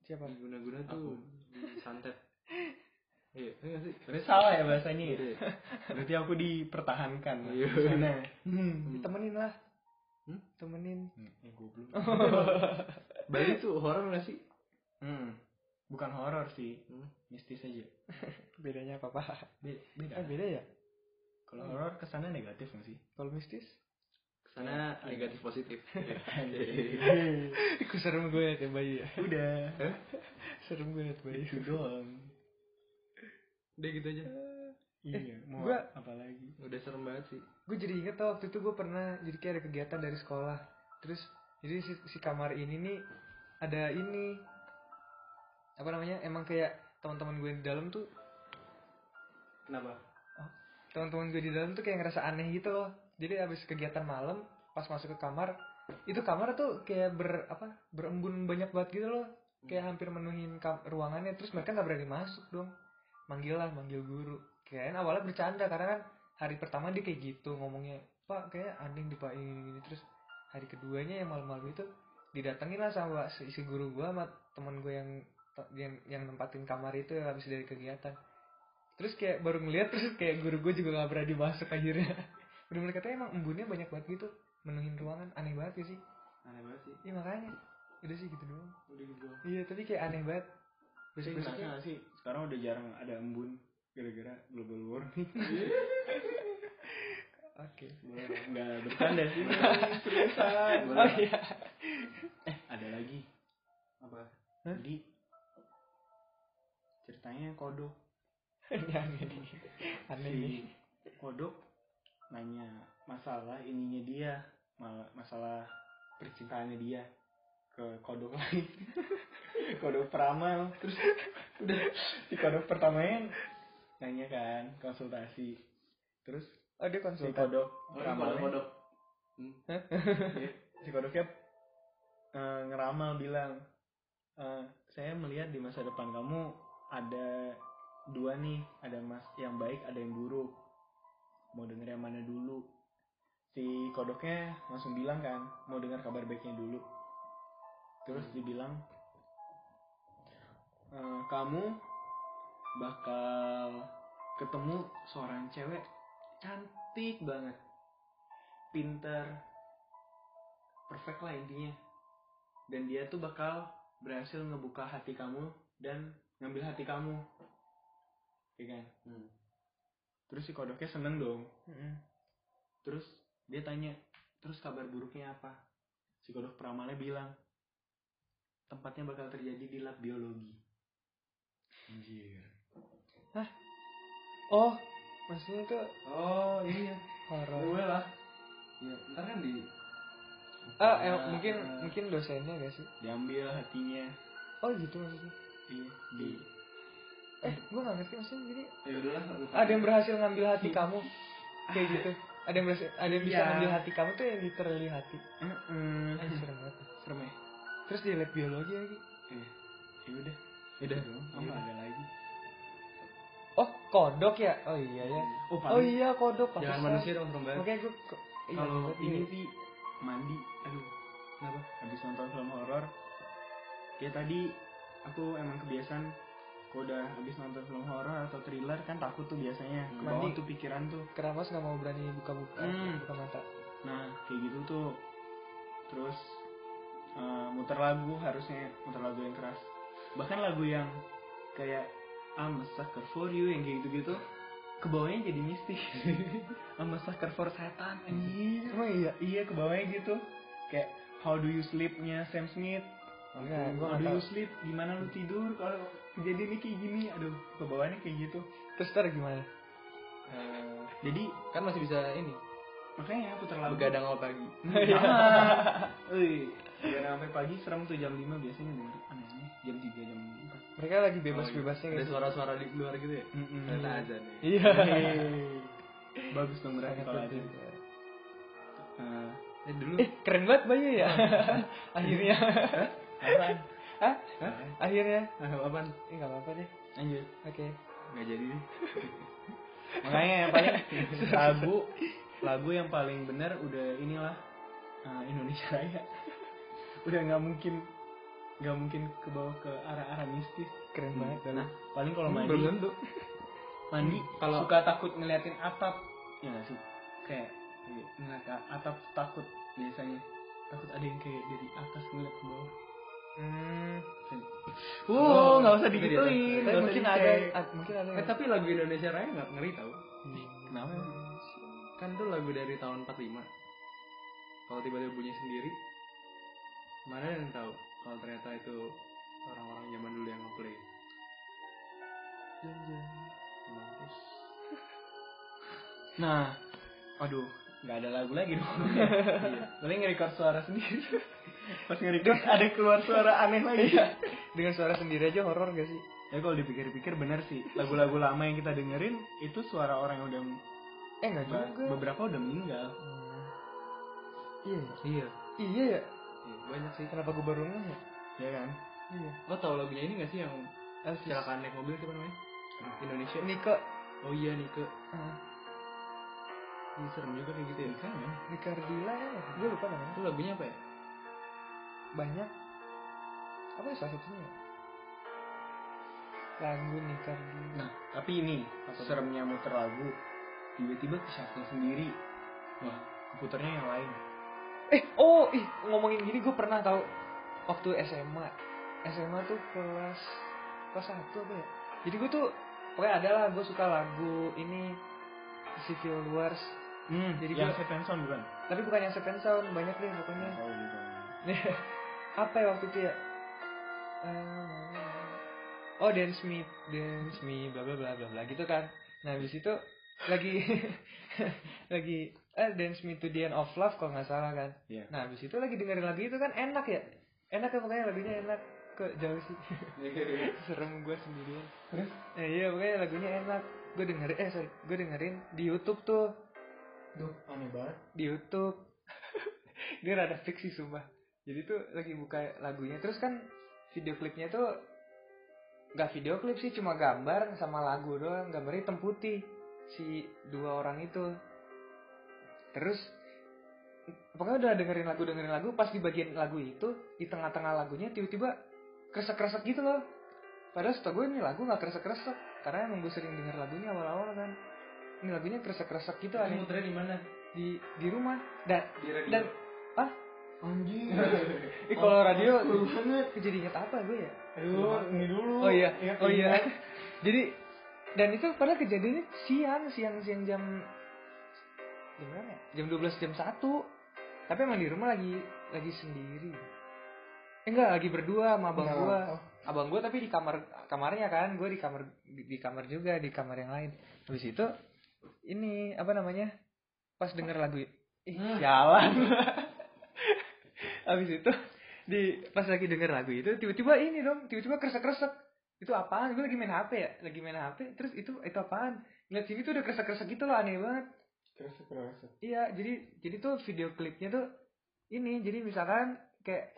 Speaker 3: siapa?
Speaker 4: guna-guna
Speaker 1: Aku.
Speaker 4: tuh disantet. Iya, enggak sih.
Speaker 1: Berarti salah ya bahasanya ya?
Speaker 4: Gitu
Speaker 2: Iya.
Speaker 4: ya?
Speaker 1: Berarti aku dipertahankan lah di
Speaker 4: Iya.
Speaker 1: sana. Hmm.
Speaker 3: Temenin lah.
Speaker 4: Hmm?
Speaker 3: Temenin.
Speaker 1: Ya goblok.
Speaker 4: Bali tuh horor nggak sih?
Speaker 1: Hmm. Bukan horor sih,
Speaker 4: Hmm.
Speaker 1: mistis aja.
Speaker 3: Bedanya apa, Pak?
Speaker 1: Be-
Speaker 3: Eh,
Speaker 1: Beda.
Speaker 3: beda ya?
Speaker 1: Kalau horor kesannya negatif nggak sih?
Speaker 3: Kalau mistis?
Speaker 4: Kesana negatif positif.
Speaker 2: Iya.
Speaker 3: Ikut serem gue ya, Bayu ya.
Speaker 1: Udah.
Speaker 3: Serem gue ya, Bayu.
Speaker 1: Itu doang.
Speaker 4: Udah gitu aja.
Speaker 1: Iya, mau
Speaker 3: gua-
Speaker 1: apa lagi?
Speaker 4: Udah serem banget sih.
Speaker 3: gue jadi inget tau waktu itu gue pernah jadi kayak ada kegiatan dari sekolah terus jadi si, si kamar ini nih ada ini apa namanya emang kayak teman-teman gue di dalam tuh
Speaker 2: Kenapa?
Speaker 3: Oh. teman-teman gue di dalam tuh kayak ngerasa aneh gitu loh jadi abis kegiatan malam pas masuk ke kamar itu kamar tuh kayak ber apa berembun banyak banget gitu loh kayak hampir menuhin kam- ruangannya terus mereka nggak berani masuk dong manggil lah manggil guru kirain awalnya bercanda karena kan hari pertama dia kayak gitu ngomongnya pak kayak aneh di pak ini ini, ini." terus hari keduanya yang malam-malam itu didatengin lah sama si, si guru gue sama temen gue yang yang yang nempatin kamar itu yang habis dari kegiatan terus kayak baru ngeliat terus kayak guru gue juga gak berani masuk akhirnya bener-bener katanya emang embunnya banyak banget gitu menuhin ruangan aneh banget ya sih
Speaker 2: Aneh banget sih.
Speaker 3: iya makanya udah sih gitu doang
Speaker 2: Udah gitu. doang.
Speaker 3: iya tapi kayak aneh banget
Speaker 1: Tapi
Speaker 3: Besok-besoknya-
Speaker 1: ngerasa nggak sih sekarang udah jarang ada embun gara-gara global warming.
Speaker 3: oke
Speaker 1: Boleh dong. Nggak bercanda sih. Seriusan.
Speaker 2: Boleh.
Speaker 1: Oh, iya. Eh, ada lagi.
Speaker 4: Oh,
Speaker 2: Apa?
Speaker 1: Jadi ceritanya kodok
Speaker 3: ini aneh nih aneh nih
Speaker 1: si kodok nanya masalah ininya dia malah masalah percintaannya dia ke kodok lain kodok peramal terus udah si kodok pertamanya nanya kan konsultasi terus
Speaker 3: oh dia
Speaker 1: si
Speaker 3: konsultan
Speaker 1: kodok
Speaker 2: Oh, ini
Speaker 1: peramalnya
Speaker 2: kodok-kodok.
Speaker 1: si kodoknya eh, ngeramal bilang eh, saya melihat di masa depan kamu ada dua nih ada mas yang baik ada yang buruk mau denger yang mana dulu si kodoknya langsung bilang kan mau dengar kabar baiknya dulu terus dibilang "Eh, kamu bakal ketemu seorang cewek cantik banget pinter perfect lah intinya dan dia tuh bakal berhasil ngebuka hati kamu dan ngambil hati kamu ya kan
Speaker 4: Hmm.
Speaker 1: terus si kodoknya seneng dong
Speaker 3: Mm-mm.
Speaker 1: terus dia tanya terus kabar buruknya apa si kodok peramalnya bilang tempatnya bakal terjadi di lab biologi anjir
Speaker 3: oh maksudnya tuh
Speaker 2: oh iya
Speaker 3: horor
Speaker 2: gue lah ya ntar kan di
Speaker 3: ah eh, mungkin mungkin dosennya gak sih
Speaker 1: diambil hatinya
Speaker 3: oh gitu maksudnya
Speaker 1: iya di
Speaker 3: eh gue gak ngerti maksudnya jadi
Speaker 2: ya udahlah lupain.
Speaker 3: ada yang berhasil ngambil hati kamu kayak gitu ada yang berhasil, ada yang bisa
Speaker 2: Iya.
Speaker 3: ngambil hati kamu tuh yang literally hati
Speaker 1: Mm-mm.
Speaker 3: Anjir, serem banget
Speaker 1: serem ya
Speaker 3: terus di lab biologi lagi
Speaker 1: iya ya udah Iya. udah dong
Speaker 2: Iya.
Speaker 1: apa ada lagi
Speaker 3: oh kodok ya oh iya ya
Speaker 1: oh
Speaker 3: oh
Speaker 1: paling
Speaker 3: iya kodok
Speaker 4: jangan ya.
Speaker 3: pantesan.
Speaker 4: manusia dong serem banget
Speaker 3: makanya iya, gue
Speaker 1: kalau ini
Speaker 3: ya.
Speaker 1: sih mandi aduh kenapa habis nonton film horor ya tadi aku emang kebiasaan kalau udah habis nonton film horor atau thriller kan takut tuh biasanya ke bawah
Speaker 3: Mandi.
Speaker 1: tuh pikiran tuh
Speaker 3: kenapa nggak mau berani buka-buka ya,
Speaker 1: Hmm.
Speaker 3: buka mata
Speaker 1: nah kayak gitu tuh terus eh, muter lagu harusnya muter lagu yang keras bahkan lagu yang kayak I'm a sucker for you yang kayak gitu-gitu ke bawahnya jadi mistis I'm a sucker for setan anjir
Speaker 3: emang iya
Speaker 1: iya ke bawahnya gitu kayak how do you sleep-nya Sam Smith
Speaker 3: Enggak, Oh, iya, gua
Speaker 1: how
Speaker 3: nggak
Speaker 1: do you
Speaker 3: tahu.
Speaker 1: sleep gimana lu tidur kalau kejadiannya kayak gini aduh ke bawahnya kayak gitu
Speaker 3: terus ntar gimana
Speaker 4: Eh,
Speaker 1: jadi
Speaker 4: kan masih bisa ini
Speaker 1: makanya aku terlalu
Speaker 4: begadang awal pagi
Speaker 3: Iya.
Speaker 1: Wih,
Speaker 2: Iya,
Speaker 1: biar sampai pagi serem tuh jam 5 biasanya denger aneh-aneh jam 3 jam
Speaker 3: mereka lagi
Speaker 2: Oh, iya.
Speaker 3: bebas-bebasnya
Speaker 4: ada
Speaker 3: gitu
Speaker 4: suara-suara di luar gitu ya
Speaker 1: 4
Speaker 4: ternyata
Speaker 2: Hmm.
Speaker 4: azan ya.
Speaker 3: iya
Speaker 1: bagus dong berarti kalau ada Eh,
Speaker 4: eh dulu
Speaker 3: gitu. eh keren banget Bayu ya akhirnya
Speaker 1: apaan?
Speaker 3: Hah? akhirnya
Speaker 4: eh, apaan
Speaker 3: eh nggak apa-apa deh
Speaker 1: lanjut
Speaker 3: oke
Speaker 4: nggak jadi deh
Speaker 1: makanya yang paling lagu lagu yang paling benar udah inilah eh, Indonesia Raya udah nggak mungkin nggak mungkin ke bawah ke arah-arah mistis
Speaker 3: keren banget
Speaker 1: nah paling kalau
Speaker 4: Hmm,
Speaker 1: mandi
Speaker 4: belum tentu
Speaker 1: mandi
Speaker 4: Kalau-
Speaker 1: Hmm. suka takut ngeliatin atap ya nggak sih Iya. kayak ngeliat ke atap tuh takut biasanya takut ada yang kayak dari atas ngeliat ke bawah
Speaker 3: hmm.
Speaker 1: wow Oh, nggak usah
Speaker 4: itu di
Speaker 1: digituin
Speaker 4: atas.
Speaker 1: Eh, nggak
Speaker 3: tapi
Speaker 1: usah
Speaker 3: mungkin
Speaker 1: dicek.
Speaker 3: ada ad- mungkin ada
Speaker 4: eh tapi lagu Indonesia Raya nggak ngeri tau
Speaker 1: kenapa emang?
Speaker 4: kan tuh lagu dari tahun 45 kalau tiba-tiba bunyi sendiri mana yang tahu kalau ternyata itu orang-orang zaman dulu yang ngeplay Mampus.
Speaker 1: nah aduh nggak ada lagu lagi dong Iya. paling nge-record suara sendiri pas nge-record ada keluar suara aneh lagi ya
Speaker 3: dengan suara sendiri aja horor gak sih
Speaker 1: kalau dipikir-pikir bener sih lagu-lagu lama yang kita dengerin itu suara orang yang udah
Speaker 3: eh
Speaker 4: Nah,
Speaker 3: nggak juga
Speaker 1: beberapa udah meninggal
Speaker 3: Hmm. iya ya?
Speaker 4: iya
Speaker 3: iya ya
Speaker 4: iya, banyak sih
Speaker 3: kenapa gue baru ngeh ya
Speaker 1: ya kan
Speaker 3: iya
Speaker 4: lo tau lagunya ini gak sih yang kecelakaan naik mobil siapa namanya Indonesia
Speaker 3: Nika
Speaker 4: oh iya Nike
Speaker 3: eh,
Speaker 4: ini serem juga kayak
Speaker 1: Iya
Speaker 4: gitu ya kan
Speaker 3: Nika Ardila ya gue lupa namanya
Speaker 4: itu lagunya apa ya
Speaker 3: banyak apa ya salah satunya ya? lagu Nika Ardila
Speaker 1: Nah, tapi ini seremnya muter lagu tiba-tiba ke shuffle sendiri. Wah, komputernya yang lain.
Speaker 3: Eh, oh, ih, ngomongin gini gue pernah tahu waktu SMA. SMA tuh kelas kelas 1 apa ya? Jadi gue tuh pokoknya ada lah gue suka lagu ini Civil Wars.
Speaker 1: Hmm, jadi
Speaker 3: jadi
Speaker 1: yang
Speaker 3: gua-
Speaker 1: Seven Son bukan?
Speaker 3: Tapi bukan yang Seven Sound, banyak deh pokoknya.
Speaker 1: Oh, gitu.
Speaker 3: apa ya waktu itu ya? Eh, oh, Dance Me, Dance Me, bla bla bla bla bla gitu kan. Nah, habis itu lagi lagi eh Dance Me to the End of Love kalau nggak salah kan.
Speaker 1: Iya.
Speaker 3: Nah, habis itu lagi dengerin lagu itu kan enak ya. Enak ya pokoknya lagunya enak. Kok jauh sih? Serem gue sendirian.
Speaker 1: Terus?
Speaker 3: Eh, iya, pokoknya lagunya enak. Gue dengerin, eh sorry, gue dengerin di Youtube tuh.
Speaker 1: Duh, aneh banget.
Speaker 3: Di Youtube. Ini rada fiksi sumpah. Jadi tuh lagi buka lagunya. Terus kan video klipnya tuh nggak video klip sih cuma gambar sama lagu doang gambar hitam putih si dua orang itu terus pokoknya udah dengerin lagu dengerin lagu pas di bagian lagu itu di tengah-tengah lagunya tiba-tiba kresek kresek gitu loh padahal setahu gue ini lagu nggak kresek kresek karena emang gue sering denger lagunya awal-awal kan ini lagunya kresek kresek gitu
Speaker 4: ini
Speaker 3: aneh
Speaker 4: muternya di mana
Speaker 3: di di rumah dan
Speaker 4: di radio
Speaker 3: dan ah
Speaker 1: Anjir.
Speaker 3: eh, kalau radio
Speaker 1: Seru banget.
Speaker 3: jadi inget apa gue ya
Speaker 1: Aduh, ini dulu.
Speaker 3: Oh iya,
Speaker 1: Ya,
Speaker 3: oh iya. Jadi dan itu pada kejadiannya siang, siang-siang jam jam berapa ya? Jam 12 jam 1. Tapi emang di rumah lagi lagi sendiri. Eh, enggak, lagi berdua sama abang
Speaker 1: Enggak.
Speaker 3: gua. Abang gua tapi di kamar kamarnya kan, gue di kamar di, di kamar juga, di kamar yang lain. Habis itu ini apa namanya pas denger lagu ih
Speaker 5: Hmm.
Speaker 3: jalan abis itu di pas lagi denger lagu itu tiba-tiba ini dong tiba-tiba kresek kresek itu apaan gue lagi main hp ya lagi main hp terus itu itu apaan ngeliat sini tuh udah kresek kresek gitu loh aneh banget
Speaker 1: kerasa kerasa
Speaker 3: iya jadi jadi tuh video klipnya tuh ini jadi misalkan kayak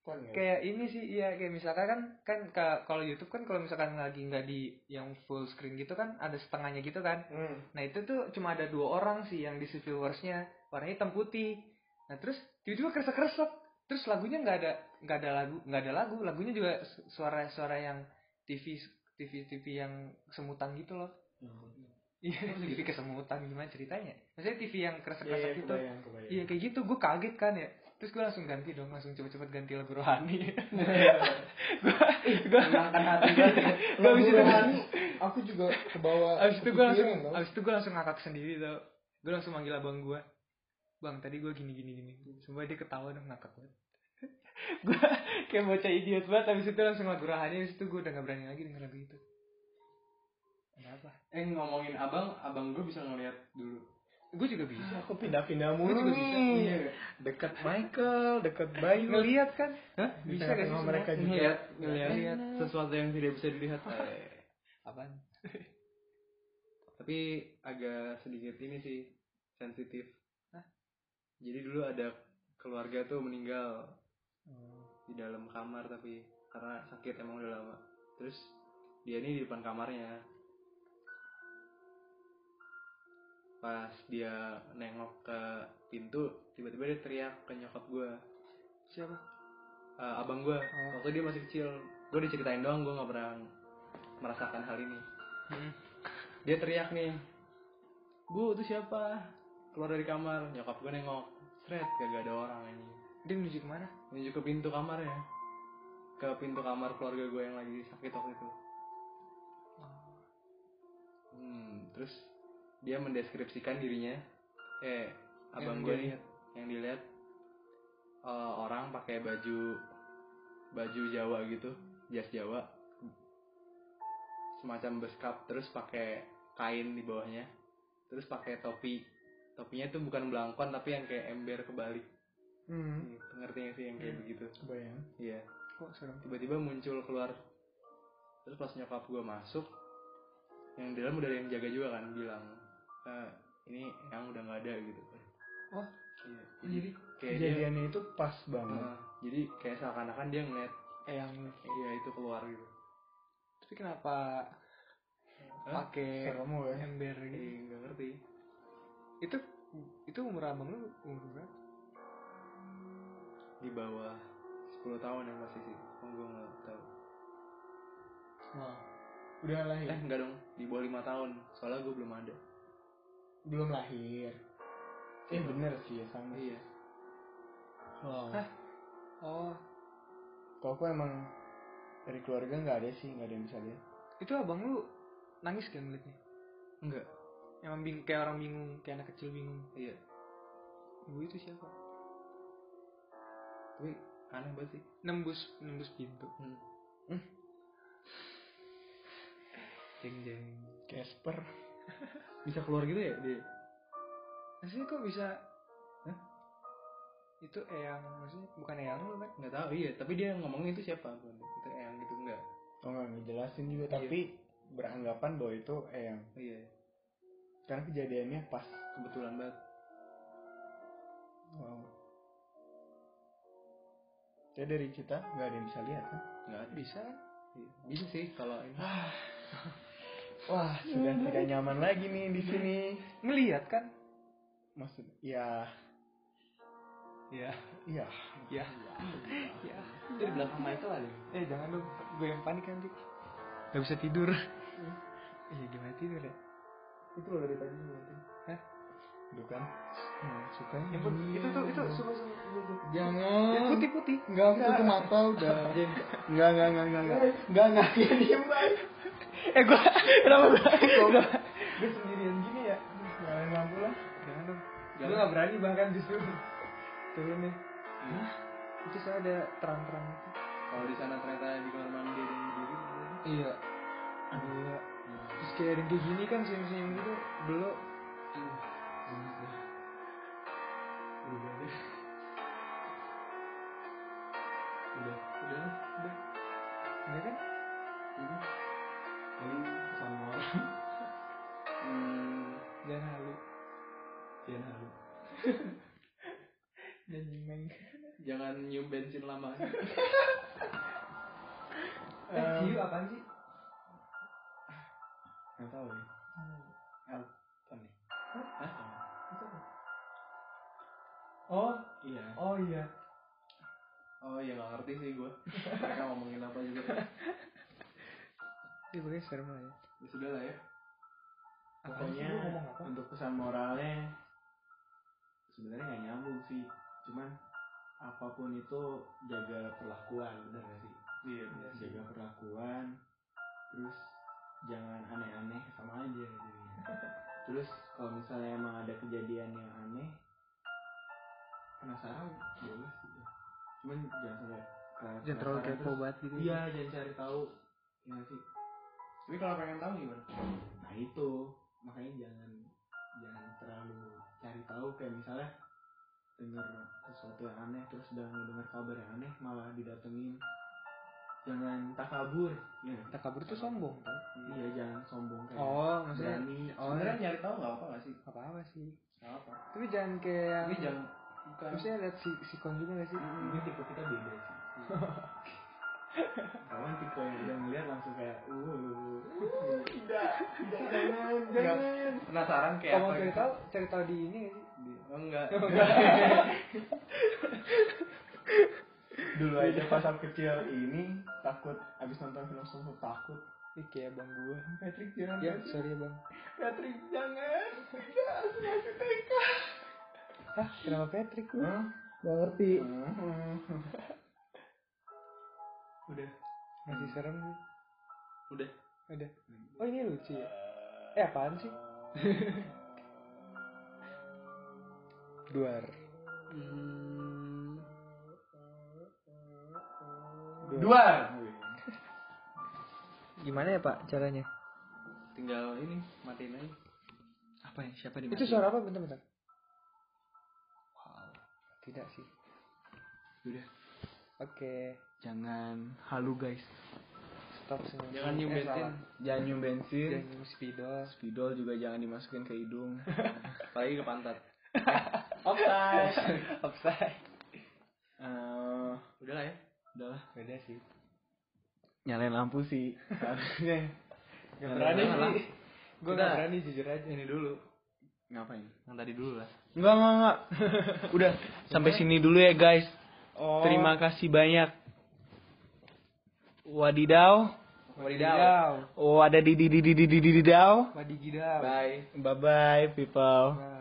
Speaker 1: Kan ya?
Speaker 3: kayak ini sih iya kayak misalkan kan kan ka- kalau YouTube kan kalau misalkan lagi nggak di yang full screen gitu kan ada setengahnya gitu kan
Speaker 1: Hmm.
Speaker 3: nah itu tuh cuma ada dua orang sih yang diisi viewersnya warnanya hitam putih nah terus tiba-tiba kresek kresek terus lagunya nggak ada nggak ada lagu nggak ada lagu lagunya juga su- suara-suara yang TV TV TV yang semutan gitu loh iya TV kesemutan gimana ceritanya maksudnya TV yang kresek
Speaker 1: Iya,
Speaker 3: kresek
Speaker 1: iya,
Speaker 3: gitu
Speaker 1: kebayang, kebayang.
Speaker 3: Iya kayak gitu, gue kaget kan ya. Terus gue langsung ganti dong, langsung cepet-cepet ganti lagu rohani.
Speaker 1: Iya.
Speaker 3: gue gue
Speaker 5: Menangkan hati banget.
Speaker 3: Gak
Speaker 1: Lagu
Speaker 3: bisa
Speaker 1: rohani, aku juga kebawa
Speaker 3: Abis itu gue langsung,
Speaker 1: kepikiran tau.
Speaker 3: abis itu gue langsung ngakak sendiri tau. Gue langsung manggil abang gue. Bang tadi gue gini gini gini. Semua dia ketawa dong ngakak banget. gue kayak bocah idiot banget. Abis itu langsung lagu rohani. Abis itu gue udah gak berani lagi denger lagu itu. Kenapa?
Speaker 5: Eh ngomongin abang, abang gue bisa ngeliat dulu.
Speaker 3: Gue juga bisa.
Speaker 1: Aku pindah-pindah mulu
Speaker 3: juga bisa,
Speaker 1: nih.
Speaker 5: iya.
Speaker 1: Dekat Michael, dekat Bayu.
Speaker 2: Iya,
Speaker 3: Ngeliat kan? Hah?
Speaker 1: Di
Speaker 3: Bisa gak sih?
Speaker 1: tengah-tengah mereka
Speaker 3: sebenarnya? Iya.
Speaker 1: juga.
Speaker 3: Ngeliat,
Speaker 2: ngeliat
Speaker 3: ngeliat.
Speaker 2: sesuatu yang tidak bisa dilihat
Speaker 3: Apaan?
Speaker 2: tapi agak sedikit ini sih sensitif
Speaker 3: Hah?
Speaker 2: jadi dulu ada keluarga tuh meninggal
Speaker 3: Oh.
Speaker 2: di dalam kamar tapi karena sakit emang udah lama terus dia ini di depan kamarnya pas dia nengok ke pintu tiba-tiba dia teriak ke nyokap gue
Speaker 3: Siapa?
Speaker 2: Eh, abang gue
Speaker 3: Oh.
Speaker 2: waktu dia masih kecil gue diceritain doang gue nggak pernah merasakan hal ini
Speaker 3: Hmm.
Speaker 2: dia teriak nih bu itu siapa keluar dari kamar nyokap gue nengok seret gak ada orang ini
Speaker 3: Dia menuju kemana?
Speaker 2: menuju ke pintu kamar ya ke pintu kamar keluarga gue yang lagi sakit waktu itu hmm, terus dia mendeskripsikan dirinya eh abang gue nih
Speaker 3: dilihat.
Speaker 2: yang dilihat eh, orang pakai baju baju Jawa gitu jas Jawa semacam beskap terus pakai kain di bawahnya terus pakai topi topinya itu bukan belangkon tapi yang kayak ember kebalik
Speaker 1: Hmm.
Speaker 2: Hmm, ngerti nggak sih yang kayak begitu
Speaker 1: Kebayang.
Speaker 2: iya
Speaker 3: Kok serem?
Speaker 2: tiba-tiba muncul keluar terus pas nyokap gue masuk yang di dalam udah ada yang jaga juga kan bilang "Eh, ini yang udah nggak ada gitu
Speaker 3: Wah.
Speaker 2: Iya.
Speaker 1: Oh, Jadi
Speaker 2: kayak dia
Speaker 1: kejadiannya itu pas banget.
Speaker 2: eh, jadi kayak seakan-akan dia ngeliat
Speaker 3: Eyang
Speaker 2: iya itu keluar gitu
Speaker 3: Eh, Tapi kenapa
Speaker 2: Hah?
Speaker 3: pakai
Speaker 1: Serem ya.
Speaker 3: ember gitu?
Speaker 2: Iya, nggak ngerti
Speaker 3: Itu itu umur abang lu umur berapa?
Speaker 2: di bawah 10 tahun yang masih sih oh, gue nggak tahu
Speaker 1: Wow. Udah lahir.
Speaker 2: eh enggak dong di bawah lima tahun soalnya gue belum ada
Speaker 1: Belum lahir. Eh bener sih ya sama.
Speaker 2: iya
Speaker 1: Wow.
Speaker 3: Oh,
Speaker 1: Kalau aku emang dari keluarga nggak ada sih, nggak ada yang bisa lihat.
Speaker 3: itu abang lu nangis kan ngeliatnya?
Speaker 2: enggak
Speaker 3: Emang bing kayak orang bingung, kayak anak kecil bingung.
Speaker 2: iya
Speaker 3: Ibu itu siapa?
Speaker 2: tapi aneh banget sih
Speaker 3: Nembus nembus pintu.
Speaker 2: Hmm.
Speaker 3: Jeng jeng.
Speaker 1: Casper.
Speaker 2: bisa keluar gitu ya dia
Speaker 3: Maksudnya kok bisa?
Speaker 2: Hah?
Speaker 3: Itu eyang maksudnya bukan eyang lu kan?
Speaker 2: nggak tahu iya tapi dia ngomongnya itu siapa bukan itu yang gitu enggak
Speaker 1: Oh nggak ngejelasin juga, tapi beranggapan bahwa itu eyang.
Speaker 2: iya
Speaker 1: Karena kejadiannya pas.
Speaker 2: kebetulan banget
Speaker 1: Wow. Jadi dari kita nggak ada yang bisa lihat kan?
Speaker 2: nggak ada
Speaker 3: Bisa kan?
Speaker 2: Iya. bisa sih kalau ini
Speaker 1: Wah, sudah tidak nyaman lagi nih di sini.
Speaker 3: Ngeliat kan?
Speaker 1: Maksud, ya,
Speaker 3: Iya.
Speaker 1: ya.
Speaker 2: Ya.
Speaker 3: Iya. Iya.
Speaker 5: Itu di belakang Michael ada.
Speaker 2: Iya.
Speaker 3: Eh jangan dong, gue yang panik nanti. Gak bisa tidur. Iya gimana tidur ya?
Speaker 1: Itu loh dari tadi nanti.
Speaker 3: Hah? kan.
Speaker 1: Bukan? Hmm, suka
Speaker 3: Yang put- itu tuh itu sumpah sumpah. sumpah, sumpah. Yang
Speaker 1: Jangan.
Speaker 3: putih putih.
Speaker 1: Enggak, aku tutup mata udah. Enggak, enggak, enggak, enggak, enggak. Enggak, enggak.
Speaker 3: Iya,
Speaker 1: Dia diem Bay.
Speaker 3: Eh gue kenapa gue?
Speaker 1: Goblok. Gue sendirian gini ya. Nyalain lampu lah.
Speaker 3: Jangan dong. Gue gak berani bahkan justru. Turun ya.
Speaker 2: Iya.
Speaker 3: Itu saya ada terang-terang itu.
Speaker 2: kalau di sana ternyata di kamar mandi ada yang berdiri
Speaker 3: Iya. Dua. Terus kayak ada yang kayak gini kan senyum-senyum gitu belok
Speaker 2: Iya. Udah deh. Udah. Udah lah. Udah.
Speaker 3: ya kan
Speaker 2: Ini. Paling sama orang. Hmm.
Speaker 3: jangan halu
Speaker 2: Jangan halu.
Speaker 3: dan nyimeng
Speaker 2: Jangan nyium bensin lama.
Speaker 3: Eh, ciu
Speaker 2: apaan sih?
Speaker 1: nggak tahu ya
Speaker 2: Apa nih? Hah? Oh,
Speaker 1: iya
Speaker 3: oh iya
Speaker 2: oh ya gak ngerti sih gue. Mereka ngomongin apa juga.
Speaker 3: Iya pokoknya serem lah ya
Speaker 2: Ya sudah lah ya.
Speaker 3: Apaan sih,
Speaker 1: pokoknya
Speaker 3: lu ngomong apa?
Speaker 1: untuk pesan moralnya sebenarnya nggak nyambung sih cuman apapun itu jaga perlakuan bener gak sih
Speaker 2: Iya.
Speaker 1: jaga perlakuan terus jangan aneh-aneh sama aja jadinya terus kalau misalnya emang ada kejadian yang aneh penasaran boleh sih ya. cuman jangan sampai ke
Speaker 3: jangan terlalu
Speaker 1: penasaran,
Speaker 3: kepo
Speaker 1: terus-
Speaker 3: banget gitu
Speaker 1: iya jangan cari tahu ya nggak sih
Speaker 2: Tapi kalau pengen tahu gimana?
Speaker 1: nah itu makanya jangan jangan terlalu cari tahu kayak misalnya denger sesuatu yang aneh terus udah ngedenger kabar yang aneh malah didatengin jangan takabur ya nggak sih?
Speaker 3: kita kabur tuh sombong kan
Speaker 1: Iya jangan sombong kayak
Speaker 3: oh maksudnya
Speaker 1: berani.
Speaker 3: oh
Speaker 2: Sebenarnya nyari tahu gak apa gak sih?
Speaker 3: apa apa sih
Speaker 2: Gak apa.
Speaker 3: tapi jangan kayak
Speaker 2: Tapi jangan Iya, bukan.
Speaker 3: maksudnya lihat si si juga gak sih
Speaker 1: Iya. Ini tipe kita beda sih. Iya. Kawan tipe yang udah ngeliat langsung kayak uh tidak tidak jangan jangan.
Speaker 2: Penasaran kayak apa
Speaker 3: kalau mau cari
Speaker 2: gitu?
Speaker 3: tahu cari tahu di ini nggak sih
Speaker 2: Di- Oh, enggak.
Speaker 1: Dulu aja pas aku kecil ini takut abis nonton film langsung takut.
Speaker 3: Ih, kayak abang gua
Speaker 1: Patrick jangan.
Speaker 3: ya sorry ya bang
Speaker 1: Patrick
Speaker 3: eh.
Speaker 1: jangan.
Speaker 3: Iya,
Speaker 1: Tidak masih TK.
Speaker 3: ah kenapa Patrick lu
Speaker 1: Hah?
Speaker 3: gak ngerti
Speaker 2: Udah.
Speaker 3: masih serem sih
Speaker 2: Udah.
Speaker 3: udah oh ini lucu ya eh apaan sih duar
Speaker 2: Dua.
Speaker 3: gimana ya pak caranya
Speaker 2: Tinggal ini matiin aja.
Speaker 4: Apa ya? Siapa di
Speaker 3: itu suara apa bentar-bentar
Speaker 4: Wow.
Speaker 3: tidak sih
Speaker 4: Udah.
Speaker 3: oke
Speaker 1: Jangan halu guys.
Speaker 3: stop semua
Speaker 2: Jangan nyium
Speaker 3: Eh,
Speaker 2: bensin.
Speaker 1: Jangan nyium bensin.
Speaker 3: jangan nyium spidol
Speaker 1: Spidol juga jangan dimasukin ke hidung.
Speaker 2: Apalagi ke pantat.
Speaker 1: Oke.
Speaker 3: offside
Speaker 1: Eh,
Speaker 2: Udah lah ya.
Speaker 1: udahlah.
Speaker 3: beda sih
Speaker 1: Nyalain lampu sih. Harusnya.
Speaker 3: gak berani
Speaker 2: jangan lah.
Speaker 3: sih gue gak
Speaker 2: Kita-
Speaker 3: berani jujur aja
Speaker 2: Ini dulu.
Speaker 1: Ngapain?
Speaker 2: Yang tadi dulu lah.
Speaker 1: Enggak, enggak, enggak. Udah, sampai sini dulu ya, guys.
Speaker 3: oh
Speaker 1: Terima kasih banyak. Wadidaw.
Speaker 3: wadidaw
Speaker 1: Wadadididididididaw.
Speaker 3: wadigidaw
Speaker 2: Bye.
Speaker 1: Bye-bye, people.
Speaker 3: Bye.